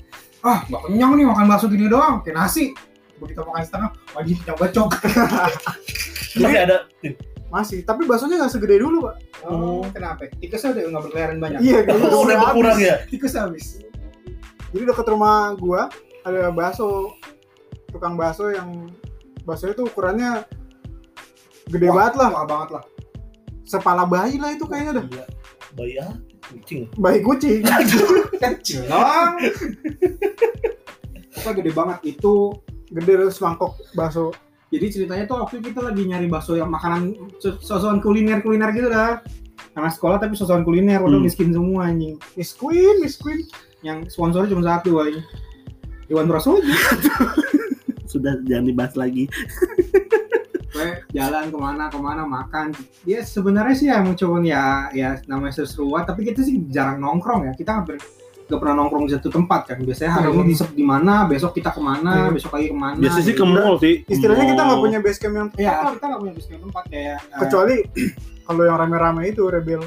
Speaker 3: ah nggak kenyang nih makan bakso gini doang kayak nasi begitu makan setengah wajib kenyang bacok
Speaker 1: masih ada Tin,
Speaker 2: Masih, tapi baksonya nggak segede dulu, Pak.
Speaker 3: Oh, kenapa? Tikusnya udah nggak berkeliaran banyak.
Speaker 2: Iya,
Speaker 1: Oh,
Speaker 2: tikusnya
Speaker 1: udah
Speaker 2: habis.
Speaker 1: berkurang ya?
Speaker 3: Tikus habis.
Speaker 2: Jadi dekat rumah gua ada bakso tukang bakso yang baksonya tuh ukurannya gede
Speaker 3: Wah.
Speaker 2: banget lah,
Speaker 3: Mahal banget lah.
Speaker 2: sepala bayi lah itu kayaknya dah.
Speaker 1: Iya. Bayi ah, kucing.
Speaker 2: Bayi kucing.
Speaker 1: kan
Speaker 3: Kecil dong.
Speaker 2: Apa gede banget itu gede terus mangkok bakso.
Speaker 3: Jadi ceritanya tuh waktu itu kita lagi nyari bakso yang makanan so- sosokan kuliner kuliner gitu dah. Anak sekolah tapi sosokan kuliner, waduh
Speaker 1: Hmm.
Speaker 3: miskin semua anjing.
Speaker 2: Miss Queen, Miss Queen.
Speaker 3: Yang sponsornya cuma satu anjing. Iwan Prasojo.
Speaker 1: Sudah jangan dibahas lagi.
Speaker 3: Gue jalan kemana kemana makan. Dia sebenarnya sih ya mau coba ya ya namanya seru-seruan, tapi kita sih jarang nongkrong ya. Kita hampir gak pernah nongkrong di satu tempat kan. Biasanya hari ini di sep- di mana, besok kita kemana,
Speaker 2: Hmm.
Speaker 3: besok lagi kemana.
Speaker 1: Iya. Biasanya sih
Speaker 3: gitu.
Speaker 1: ke mall sih. Hmm.
Speaker 2: Istilahnya kita nggak
Speaker 1: Mall.
Speaker 2: punya base camp yang
Speaker 3: Iya, kita gak punya bisnis tempat kayak eh,
Speaker 2: kecuali kalau yang rame-rame itu rebel.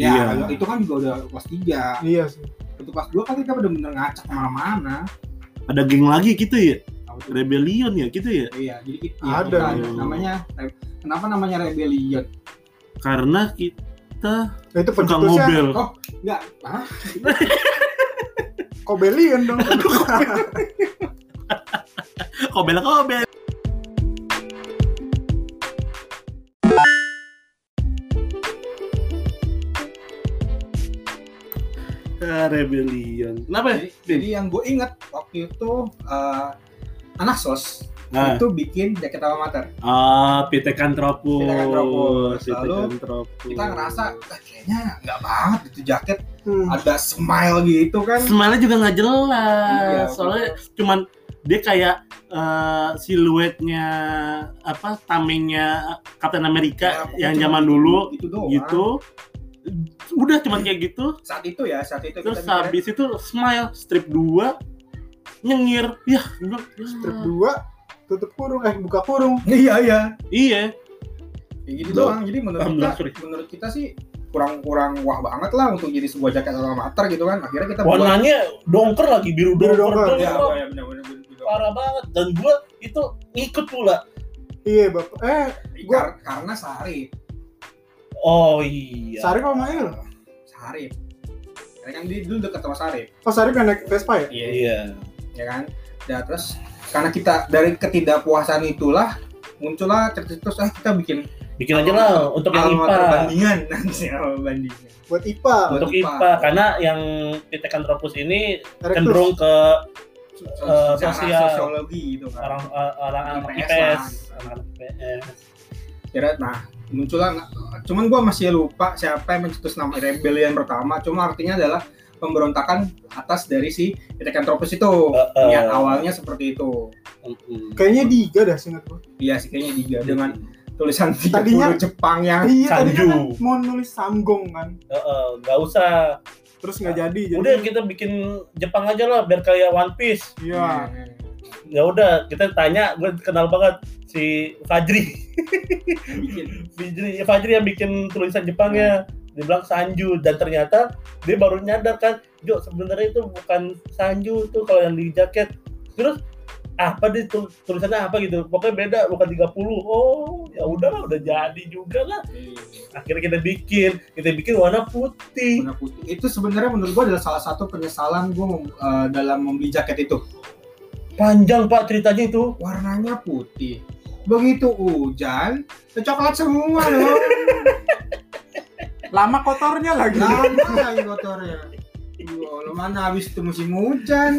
Speaker 3: Ya,
Speaker 1: Iya.
Speaker 3: kalau itu kan juga udah kelas 3.
Speaker 2: Iya sih.
Speaker 3: Waktu kelas 2 kan kita bener-bener ngacak kemana-mana.
Speaker 1: Ada geng lagi gitu ya.
Speaker 3: Tahu tuh.
Speaker 1: Rebellion ya gitu ya.
Speaker 3: Iya, jadi kita
Speaker 2: Ada.
Speaker 3: namanya re- kenapa namanya rebellion?
Speaker 1: Karena kita
Speaker 2: Nah, itu
Speaker 1: suka
Speaker 2: pencetusnya
Speaker 1: ngobel.
Speaker 3: Oh, enggak. Hah?
Speaker 2: kobelian dong.
Speaker 1: Kobel kobel. Ah, rebellion. Kenapa?
Speaker 3: Jadi, jadi yang gue inget waktu itu eh, anak sos
Speaker 1: Nah,
Speaker 3: itu bikin jaket alma mater.
Speaker 1: ah, Pitecantropus.
Speaker 3: Pitecantropus. Lalu,
Speaker 1: Pitecantropus.
Speaker 3: Kita ngerasa "Eh, kayaknya enggak banget itu jaket
Speaker 2: Hmm.
Speaker 3: ada smile gitu kan.
Speaker 1: Smile juga nggak jelas.
Speaker 3: Iya,
Speaker 1: Soalnya cuman dia kayak eh, siluetnya apa tamengnya Captain America
Speaker 3: Ya,
Speaker 1: yang
Speaker 3: pokoknya
Speaker 1: zaman
Speaker 3: cuma
Speaker 1: dulu
Speaker 3: gitu doang.
Speaker 1: gitu. Udah cuman kayak gitu.
Speaker 3: Saat itu ya, saat itu
Speaker 1: Terus
Speaker 3: mikirnya,
Speaker 1: habis itu smile strip 2 nyengir. Yah, gua-
Speaker 2: Strip dua tutup kurung eh buka kurung.
Speaker 3: Iya, iya.
Speaker 1: Iya.
Speaker 3: Ya gitu
Speaker 1: Loh.
Speaker 3: doang. Jadi menurut
Speaker 1: Alhamdulillah,
Speaker 3: kita,
Speaker 1: sorry.
Speaker 3: menurut kita sih kurang-kurang wah banget lah untuk jadi sebuah jaket alma mater gitu kan. Akhirnya kita buat
Speaker 1: Warnanya dongker lagi biru
Speaker 2: Biru
Speaker 1: dongker.
Speaker 2: dongker,
Speaker 1: dongker.
Speaker 3: ya, ya benar-benar
Speaker 1: Parah banget dan gua itu ngikut pula.
Speaker 2: Iya, Bapak. Eh, Gua-
Speaker 3: karena Sarip.
Speaker 1: Oh iya.
Speaker 2: Sarip apa Mail?
Speaker 3: Sarip. Karena kan dia dulu deket sama Sarip.
Speaker 2: Oh, Sarip yang naik Vespa ya?
Speaker 1: Iya.
Speaker 3: Ya kan? Nah, terus karena kita dari ketidakpuasan itulah muncullah terus ah kita bikin
Speaker 1: Bikin aja lah untuk yang
Speaker 3: alma mater
Speaker 1: IPA.
Speaker 3: bandingan nanti alma bandingan.
Speaker 2: Buat IPA.
Speaker 1: Untuk
Speaker 3: IPA.
Speaker 1: IPA karena yang Pitecantropus ini
Speaker 2: Erectus.
Speaker 1: cenderung ke
Speaker 3: So-
Speaker 1: Eh,
Speaker 3: secara
Speaker 1: sosial.
Speaker 3: sosiologi gitu kan.
Speaker 1: orang eh, orang anak
Speaker 3: IPS
Speaker 1: IPS,
Speaker 3: lah.
Speaker 1: anak IPS.
Speaker 3: kira nah muncullah cuman gua masih lupa siapa yang mencetus nama rebellion pertama cuma artinya adalah pemberontakan atas dari si Tropis itu
Speaker 1: Eh, eh,
Speaker 3: niat awalnya seperti itu
Speaker 1: mm-mm.
Speaker 2: Kayaknya Diga dah singkat gua.
Speaker 3: iya sih kayaknya diga dengan tulisan 30
Speaker 2: Tadinya-
Speaker 3: Jepang yang
Speaker 2: Iya, tadi kan
Speaker 1: Sanju.
Speaker 2: mau nulis Samgong kan.
Speaker 1: Eh, eh, nggak usah.
Speaker 2: Terus nggak jadi.
Speaker 3: Iya,
Speaker 2: jadi
Speaker 1: Iya. Udah gitu. kita bikin Jepang aja lah biar kayak One Piece.
Speaker 2: Iya.
Speaker 1: Ya udah kita tanya, gue kenal banget si Fajri.
Speaker 3: yang bikin
Speaker 1: Fajri, ya Fajri yang bikin tulisan Jepangnya. Dia bilang Sanju dan ternyata dia baru nyadar kan, Jo sebenarnya itu bukan Sanju tuh kalau yang di jaket. Terus apa deh tu- tulisannya apa gitu. Pokoknya beda bukan 30. Oh, ya udah lah, udah jadi juga lah. Akhirnya kita bikin, kita bikin warna putih.
Speaker 3: Iya, warna putih itu sebenarnya menurut gua adalah salah satu penyesalan gua mem- eh, dalam membeli jaket itu
Speaker 1: Panjang Pak ceritanya itu.
Speaker 3: warnanya putih begitu hujan coklat semua loh
Speaker 5: Lama kotornya lagi.
Speaker 1: Nah.
Speaker 3: lama lagi kotornya Duh, lu mana habis itu musim hujan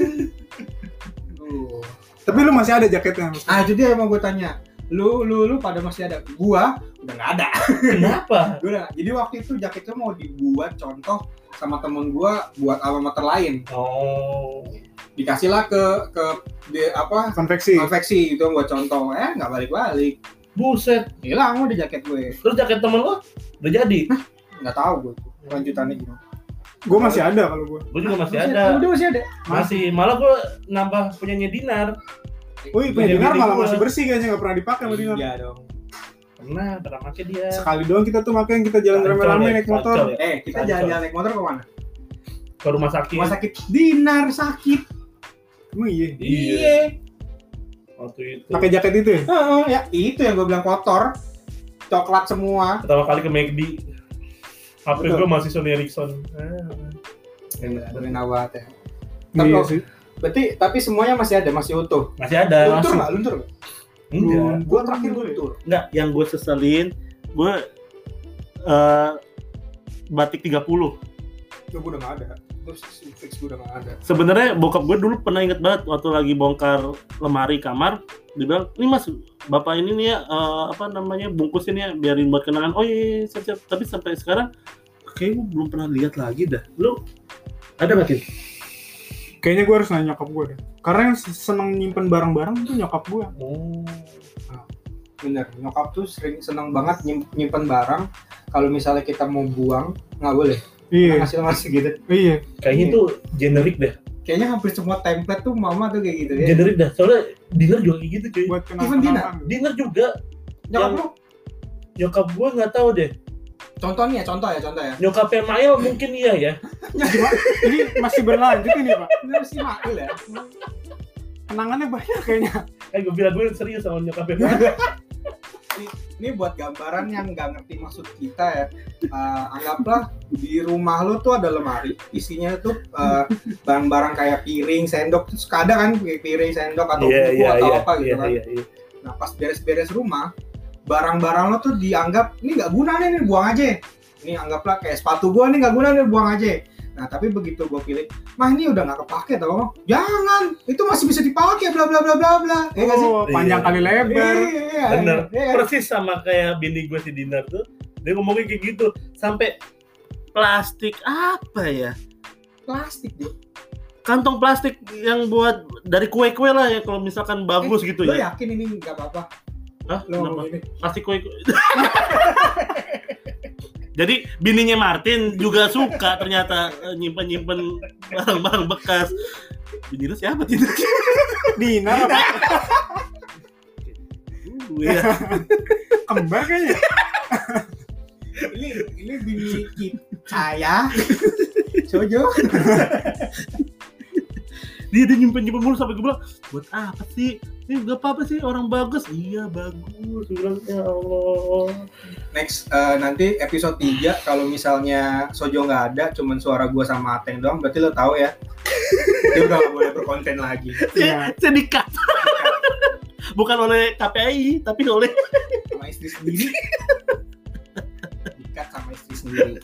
Speaker 3: Duh.
Speaker 2: Tapi lu masih ada jaketnya. Mas.
Speaker 3: ah jadi emang gue tanya lu lu lu pada masih ada gua udah nggak ada
Speaker 1: Kenapa?
Speaker 3: Gua udah- jadi waktu itu jaketnya mau dibuat contoh sama temen gua buat alma mater lain
Speaker 1: Oh.
Speaker 3: dikasihlah ke ke di, apa
Speaker 2: Konveksi.
Speaker 3: konveksi itu buat contoh eh nggak balik balik
Speaker 1: Buset.
Speaker 3: hilang udah jaket gue
Speaker 1: Terus jaket temen lo udah jadi.
Speaker 3: nggak tahu gue lanjutannya gimana
Speaker 2: Gua masih ada kalau gua.
Speaker 1: Gue juga masih
Speaker 3: Masih-
Speaker 1: ada.
Speaker 3: udah masih ada
Speaker 1: Masih. Malah gue nambah punyanya Dinar.
Speaker 2: Wih, punya
Speaker 1: Punya
Speaker 2: dinar
Speaker 1: diri
Speaker 2: malah
Speaker 1: gua.
Speaker 2: masih bersih kayaknya nggak pernah dipakai sama dinar.
Speaker 3: iya dong
Speaker 1: Pernah, pernah pakai dia.
Speaker 2: Sekali doang kita tuh makanya kita jalan
Speaker 1: Kacau
Speaker 2: rame-rame
Speaker 1: deh,
Speaker 2: naik
Speaker 1: kacau
Speaker 2: motor.
Speaker 1: deh.
Speaker 3: eh kita
Speaker 1: Lanjut. Iya.
Speaker 3: jalan-jalan naik motor kemana
Speaker 1: Ke rumah sakit.
Speaker 3: rumah sakit dinar sakit
Speaker 2: Emang iya.
Speaker 1: Iya. Waktu itu.
Speaker 2: Pakai jaket itu
Speaker 3: Iya.
Speaker 2: ya?
Speaker 3: Oh, Heeh, ya itu yang gue bilang kotor coklat semua
Speaker 1: Pertama kali ke McD. HP
Speaker 3: Betul.
Speaker 1: gue masih Sony Ericsson. Ah.
Speaker 3: bener awat ya Tapi kalau-
Speaker 2: Iya sih.
Speaker 3: berarti tapi semuanya masih ada masih utuh
Speaker 1: Masih ada.
Speaker 3: luntur
Speaker 1: Eh, masih.
Speaker 3: nggak luntur nggak?
Speaker 1: Enggak.
Speaker 3: gua terakhir ya. luntur
Speaker 1: Enggak, yang gue seselin, gue eh batik 30.
Speaker 3: itu gua udah nggak ada terus fix gua udah nggak ada
Speaker 1: Sebenarnya bokap gue dulu pernah inget banget waktu lagi bongkar lemari kamar, dia bilang, ini mas, bapak ini nih ya, eh, apa namanya, bungkusin ya, biarin buat kenangan. Oh iya, iya, siap, siap. Tapi sampai sekarang, kayaknya gue belum pernah lihat lagi dah. Lu ada makin?
Speaker 2: Kayaknya gue harus nanya nyokap gue deh. Karena yang seneng nyimpen barang-barang itu nyokap gue.
Speaker 1: Oh.
Speaker 3: bener nyokap tuh sering seneng banget nyim- nyimpen barang kalau misalnya kita mau buang nggak boleh
Speaker 2: Iya,
Speaker 3: hasil masih gitu
Speaker 2: iya.
Speaker 1: Kayaknya itu generik dah,
Speaker 3: kayaknya hampir semua template tuh mama tuh kayak gitu ya
Speaker 1: generik dah. Soalnya dinner juga kayak gitu cuy.
Speaker 2: Buat
Speaker 3: Even Dina.
Speaker 2: kenang-kenangan.
Speaker 1: Dinner juga,
Speaker 3: nyokap
Speaker 1: Yang-
Speaker 3: lu
Speaker 1: nyokap gue nggak tahu deh.
Speaker 3: contohnya contoh ya contoh ya
Speaker 1: Nyokapnya Mail mungkin iya ya.
Speaker 2: Gimana? Ini masih berlanjut ini pak.
Speaker 3: ini harus dimakil ya
Speaker 2: Kenangannya banyak kayaknya.
Speaker 1: Eh gue bilang gue serius sama nyokapnya Mail.
Speaker 3: ini buat gambaran yang nggak ngerti maksud kita ya Eh, anggaplah di rumah lu tuh ada lemari isinya tuh eh, barang-barang kayak piring sendok terus kadang kan kayak piring sendok atau buku atau apa gitu kan
Speaker 1: iya, iya.
Speaker 3: nah pas beres-beres rumah barang-barang lo tuh dianggap ini nggak guna nih, nih buang aja ini anggaplah kayak sepatu gua nih nggak guna nih buang aja nah tapi begitu gua pilih mah ini udah nggak kepake tau jangan itu masih bisa dipakai bla bla bla bla bla ya nggak sih
Speaker 2: Oh, panjang
Speaker 1: Iya.
Speaker 2: kali lebar.
Speaker 3: Iya, iya,
Speaker 1: Bener.
Speaker 3: iya, iya.
Speaker 1: Persis sama kayak bini gue si Dinar tuh. Dia ngomongnya kayak gitu sampai plastik apa ya?
Speaker 3: plastik deh
Speaker 1: Kantong plastik yang buat dari kue-kue lah ya kalau misalkan bagus gitu
Speaker 3: lo
Speaker 1: ya.
Speaker 3: yakin ini nggak apa-apa
Speaker 1: Hah?
Speaker 3: lo
Speaker 1: Kenapa?
Speaker 3: ngomong ini
Speaker 1: Plastik kue-kue. Jadi bininya Martin juga suka ternyata eh, nyimpen-nyimpen barang-barang bekas. Bini lu siapa tidak?
Speaker 2: Dina apa?
Speaker 1: Iya.
Speaker 2: Kembar kayaknya.
Speaker 3: ini ini bini kita saya Jojo
Speaker 1: dia dia nyimpen nyimpen mulu sampai gue bilang buat apa sih ini gak apa apa sih orang bagus iya bagus gue bilang ya allah
Speaker 3: next eh, nanti episode 3 kalau misalnya Sojo nggak ada cuman suara gua sama Ateng doang berarti lo tahu ya dia udah nggak boleh berkonten lagi
Speaker 2: Iya.
Speaker 1: saya dikat bukan oleh KPI tapi oleh
Speaker 3: sama istri sendiri dikat sama istri sendiri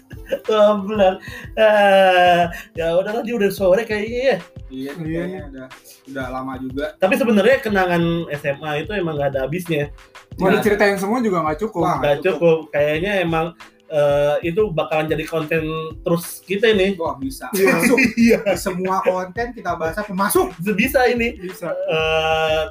Speaker 1: bilang ah, ya udahlah dia udah sore kayaknya ya
Speaker 3: iya
Speaker 2: Iya.
Speaker 3: kayaknya udah udah lama juga
Speaker 1: tapi sebenarnya kenangan SMA itu emang gak ada habisnya
Speaker 2: Mau diceritain semua juga nggak
Speaker 3: Wah.
Speaker 2: cukup.
Speaker 1: gak cukup kayaknya emang eh, itu bakalan jadi konten terus kita nih
Speaker 3: wah bisa
Speaker 2: Iya.
Speaker 3: masuk
Speaker 1: iya
Speaker 3: Di semua konten kita bahas apa masuk
Speaker 1: bisa ini
Speaker 2: Bisa.
Speaker 1: Eh,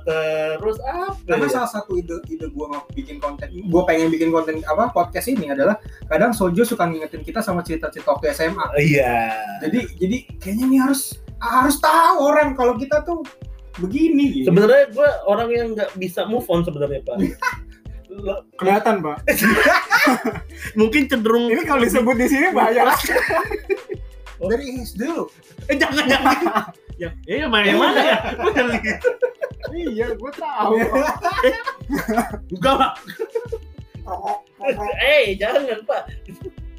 Speaker 1: terus apa
Speaker 3: karena
Speaker 1: ya?
Speaker 3: salah satu ide ide gue mau bikin konten gue pengen bikin konten apa podcast ini adalah kadang Sojo suka ngingetin kita sama cerita-cerita waktu SMA
Speaker 1: iya
Speaker 3: jadi jadi kayaknya ini harus harus tahu orang kalau kita tuh begini gitu.
Speaker 1: Sebenarnya gue orang yang nggak bisa move on sebenarnya pak. Lo-
Speaker 2: Kelihatan pak.
Speaker 1: Mungkin cenderung
Speaker 2: Ini kalau disebut di sini bahaya.
Speaker 3: dari SD lo
Speaker 1: eh, jangan jangan. ya, eh yang mana yang mana ya? Gua yang gitu.
Speaker 2: iya, gue tahu.
Speaker 1: Enggak pak. Eh jangan pak.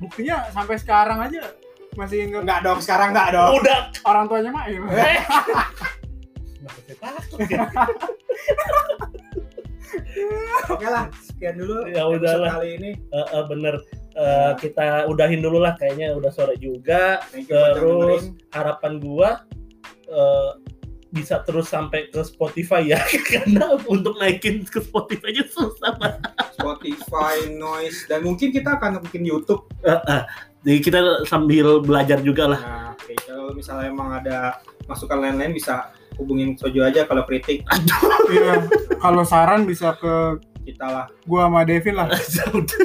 Speaker 2: Buktinya sampai sekarang aja masih nggak
Speaker 3: nggak dong sekarang nggak dong
Speaker 1: Udah.
Speaker 2: orang tuanya iya. main.
Speaker 1: Eh. Kenapa saya takut ya?
Speaker 3: oke lah sekian dulu
Speaker 1: Ya
Speaker 3: episode
Speaker 1: udahlah.
Speaker 3: kali ini
Speaker 1: Eh, eh, bener. Eh, kita udahin dulu lah kayaknya udah sore juga
Speaker 3: Thank you buat yang
Speaker 1: Terus.
Speaker 3: dengerin.
Speaker 1: harapan gua eh, bisa terus sampai ke Spotify ya karena untuk naikin ke Spotify aja susah pak
Speaker 3: Spotify noise dan mungkin kita akan bikin YouTube
Speaker 1: Eh, eh, jadi kita sambil belajar juga lah
Speaker 3: nah oke. kalau misalnya emang ada masukan lain-lain bisa hubungin Sojo aja kalau kritik
Speaker 2: Iya. Kalau saran bisa ke
Speaker 3: kita lah
Speaker 2: gua sama Devin lah.
Speaker 1: Udah,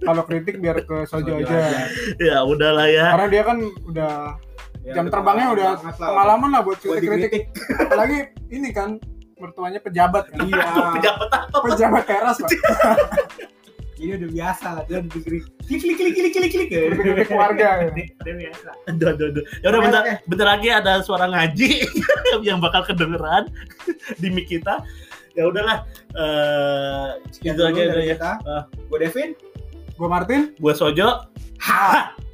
Speaker 2: Kalau kritik biar ke Sojo aja.
Speaker 1: ya udahlah ya
Speaker 2: Karena dia kan udah
Speaker 3: Ya,
Speaker 2: Jam terbangnya
Speaker 3: pengalaman
Speaker 2: udah
Speaker 3: banget lah.
Speaker 2: pengalaman lah buat
Speaker 3: Buat
Speaker 2: kritik-kritik.
Speaker 3: dikritik
Speaker 2: Apalagi ini kan mertuanya pejabat kan.
Speaker 3: iya
Speaker 1: pejabat apa
Speaker 2: Pejabat teras pak.
Speaker 3: ini udah biasa lah dia udah dikritik klik klik klik klik klik klik ya.
Speaker 2: Kritik keluarga. ya.
Speaker 3: Ini udah biasa
Speaker 1: aduh aduh aduh ya udah
Speaker 3: Oke,
Speaker 1: bentar
Speaker 3: oke.
Speaker 1: bentar lagi ada suara ngaji yang bakal kedengeran di mic kita ya
Speaker 5: ya udahlah eh
Speaker 3: Sekian dulu
Speaker 5: Itu aja
Speaker 3: dari
Speaker 5: udah ya.
Speaker 3: kita.
Speaker 5: Ah.
Speaker 3: Gue Devin.
Speaker 6: Gue Martin.
Speaker 5: gue Sojo
Speaker 3: Ha!